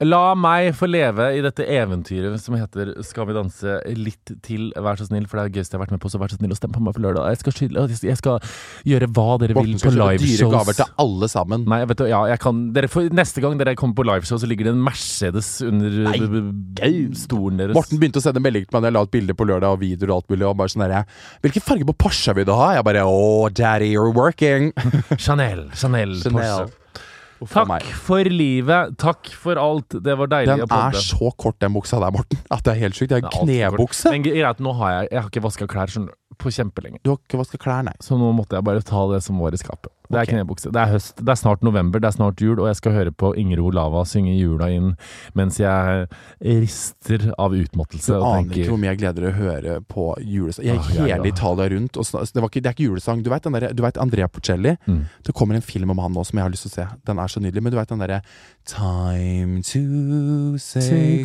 S2: La meg få leve i dette eventyret som heter Skal vi danse litt til, vær så snill, for det er det gøyeste jeg har vært med på, så vær så snill å stemme på meg for lørdag. Jeg skal, skylde- jeg skal gjøre hva dere vil
S1: Morten
S2: på
S1: skal kjøpe dyre
S2: liveshows.
S1: gaver til alle sammen.
S2: Nei, vet du, ja, jeg kan dere får, Neste gang dere kommer på liveshow, så ligger det en Mercedes under
S1: Nei,
S2: b- b-
S1: gau.
S2: stolen deres.
S1: Morten begynte å sende meldinger til meg da jeg la ut bilder på lørdag og videoer og alt mulig. Og han bare sånn derre 'Hvilken farge på Porsche vil du ha?' Jeg bare 'Å, daddy, you're working'.
S2: Chanel. Chanel,
S1: Chanel.
S2: Porsche.
S1: Uff a meg.
S6: Takk for livet. Takk for alt. Det var deilig
S1: Den
S6: å podde.
S1: er så kort, den buksa der, Morten, at det er helt sykt. Det er en
S6: Det er altfor kort.
S1: knebukse.
S6: Men greit, nå har jeg, jeg har ikke vaska klær skjønner du, på kjempelenge.
S1: Du har ikke vaska klær, nei.
S6: Så nå måtte jeg bare ta det som var i skapet. Det er
S1: Ok.
S6: knebukse. Det er høst. Det er snart november, det er snart jul, og jeg skal høre på Ingrid Olava synge jula inn mens jeg rister av utmattelse
S1: Du
S6: og
S1: aner ikke
S6: tenker
S1: hvor mye jeg gleder dere å høre på julesang. Jeg
S6: Ah,
S1: er
S6: ja,
S1: hele
S6: ja.
S1: Italia rundt. Og sna- det, var ikke, det er ikke julesang. Du vet, den der, du vet Andrea Porcelli?
S6: Mm.
S1: Det kommer en film om han nå som jeg har lyst til å se. Den er så nydelig. Men du vet den derre Time to say
S6: Say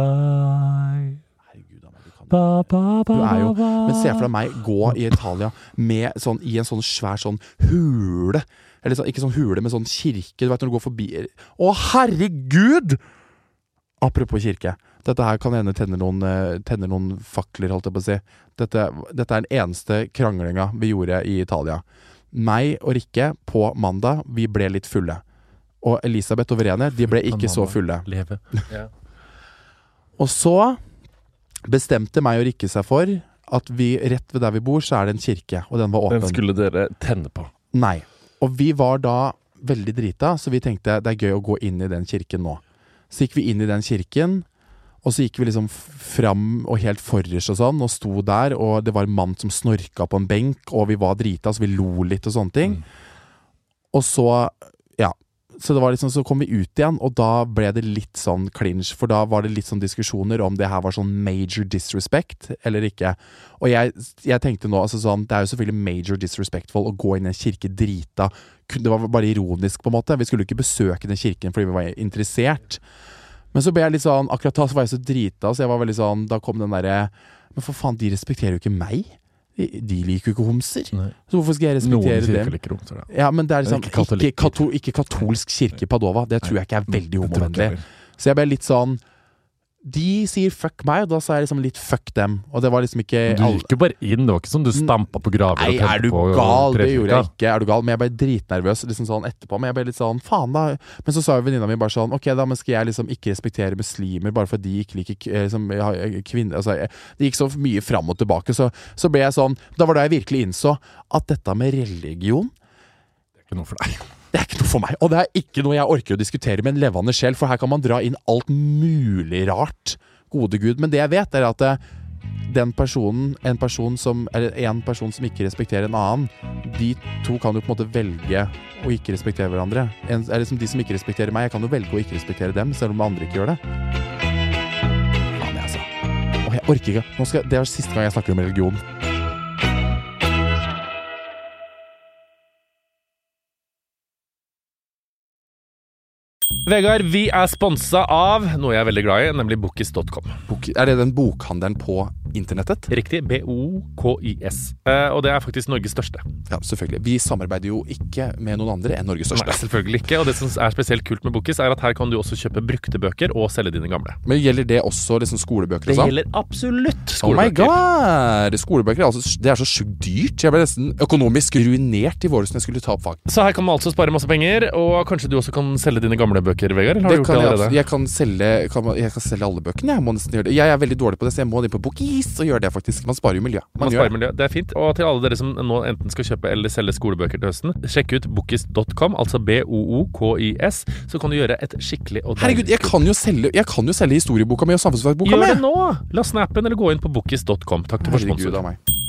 S6: goodbye.
S1: Herregud, Anna, du kan
S6: Ba, ba, ba,
S1: Du er jo-
S6: ba, ba.
S1: Men se for deg meg gå i Italia med sånn, i en sånn svær sånn hule. Eller sånn, ikke sånn hule, men sånn kirke. Du vet når du går forbi Å, herregud! Apropos kirke. Dette her kan hende tenner noen, eh, tenner noen fakler, holdt jeg på å si. Dette, dette er den eneste kranglinga vi gjorde i Italia. Meg og Rikke på mandag, vi ble litt fulle. Og Elisabeth og Verene, de ble
S6: Full på
S1: ikke så
S6: mandag.
S1: fulle.
S6: Leve.
S1: Og så bestemte meg og Rikke seg for at vi, rett ved der vi bor, så er det en kirke, og den var åpen.
S2: Den skulle dere tenne på.
S1: Nei. Og vi var da veldig drita, så vi tenkte det er gøy å gå inn i den kirken nå. Så gikk vi inn i den kirken, og så gikk vi liksom f- fram og helt forrest og sånn, og sto der, og det var en mann som snorka på en benk, og vi var drita, så vi lo litt og sånne ting. Og så, ja. Så, det var liksom, så kom vi ut igjen, og da ble det litt sånn clinch. For da var det litt sånn diskusjoner om det her var sånn major disrespect eller ikke. Og jeg, jeg tenkte nå altså sånn, Det er jo selvfølgelig major disrespectful å gå inn i en kirke drita. Kun- Det var bare ironisk, på en måte. Vi skulle jo ikke besøke den kirken fordi vi var interessert. Men så ble jeg litt sånn Akkurat da så var jeg så drita, så jeg var veldig sånn Da kom den derre Men for faen, de respekterer jo ikke meg. De, de liker jo ikke homser.
S6: Nei.
S1: Så hvorfor skal jeg
S6: Noen
S1: respektere dem?
S6: kirker liker romser, ja.
S1: Ja, men det er liksom
S6: ikke
S1: ikke,
S6: katolikker.
S1: kato- ikke katolsk kirke i Padova. Det tror jeg ikke er
S6: Det tror
S1: veldig
S6: jeg ikke
S1: homovennlig.
S6: heller.
S1: Så jeg ble litt sånn De sier fuck meg, og da sa jeg liksom litt fuck dem. Og det var liksom ikke
S6: Du gikk jo bare inn, det var ikke sånn du stampa på graver
S1: Mm. Nei,
S6: og tente
S1: er du
S6: på
S1: gal? Det gjorde jeg
S6: trefika.
S1: ikke. Er du gal? Men jeg ble dritnervøs liksom sånn etterpå. Men jeg ble litt sånn, faen da Men så sa jo venninna mi bare sånn Ok, da men skal jeg liksom ikke respektere muslimer bare fordi de ikke liker k- eh, liksom, ja, eh, kvinner altså, jeg- Det gikk så mye fram og tilbake. Så, så ble jeg sånn Da var da jeg virkelig innså at dette med religion
S6: Ikke noe for deg.
S1: det er ikke noe for meg. Og det er ikke noe jeg orker å diskutere med en levende sjel, for her kan man dra inn alt mulig rart. Gode gud. Men det jeg vet, er at eh, den personen, en person som Eller en person som ikke respekterer en annen, de to kan jo på en måte velge å ikke respektere hverandre. En, eller som de som ikke respekterer meg, jeg kan jo velge å ikke respektere dem, selv om andre ikke gjør det. Faen, jeg, altså. Åh, jeg orker ikke. Nå skal, det er siste gang jeg snakker om religion.
S2: Vegard, vi er sponsa av noe jeg er veldig glad i, nemlig bokis.com.
S3: Bok, er det den bokhandelen på internettet?
S2: Riktig. B-O-K-I-S. Eh, og det er faktisk Norges største.
S3: Ja, selvfølgelig. Vi samarbeider jo ikke med noen andre enn Norges
S2: Nei,
S3: største.
S2: selvfølgelig ikke. Og det som er spesielt kult med Bokis, er at her kan du også kjøpe brukte bøker og selge dine gamle.
S3: Men gjelder det også liksom skolebøker
S2: Det
S3: og sånn?
S2: gjelder absolutt
S3: Oh my
S2: skolebøker.
S3: god! Skolebøker er, altså, det er så sjukt dyrt. Jeg ble nesten økonomisk ruinert i våres når jeg skulle ta opp fag.
S2: så her kan man altså spare masse penger, og kanskje du også kan selge dine gamle bøker, Vegard? Eller har
S3: Det
S2: du gjort
S3: kan
S2: det
S3: jeg,
S2: allerede?
S3: abs- jeg, kan selge, kan, man- jeg kan selge alle bøkene. Jeg må nesten gjøre det Jeg er veldig dårlig på det, så jeg må inn på Bokis og gjøre det, faktisk. Man sparer jo miljø. Man
S2: Man
S3: gjør
S2: sparer
S3: det.
S2: miljø. Det er fint. Og til alle dere som nå enten skal kjøpe eller selge skolebøker til høsten, sjekk ut bokis.com, altså B-O-O-K-I-S, så kan du gjøre et skikkelig og
S3: Herregud, jeg kan jo selge, jeg kan jo selge historieboka mi og samfunnsfagboka
S2: Gjør
S3: mi!
S2: det nå! La snappen eller gå inn på bokis.com. Takk til vår
S3: Herregud
S2: sponsor.
S3: av meg.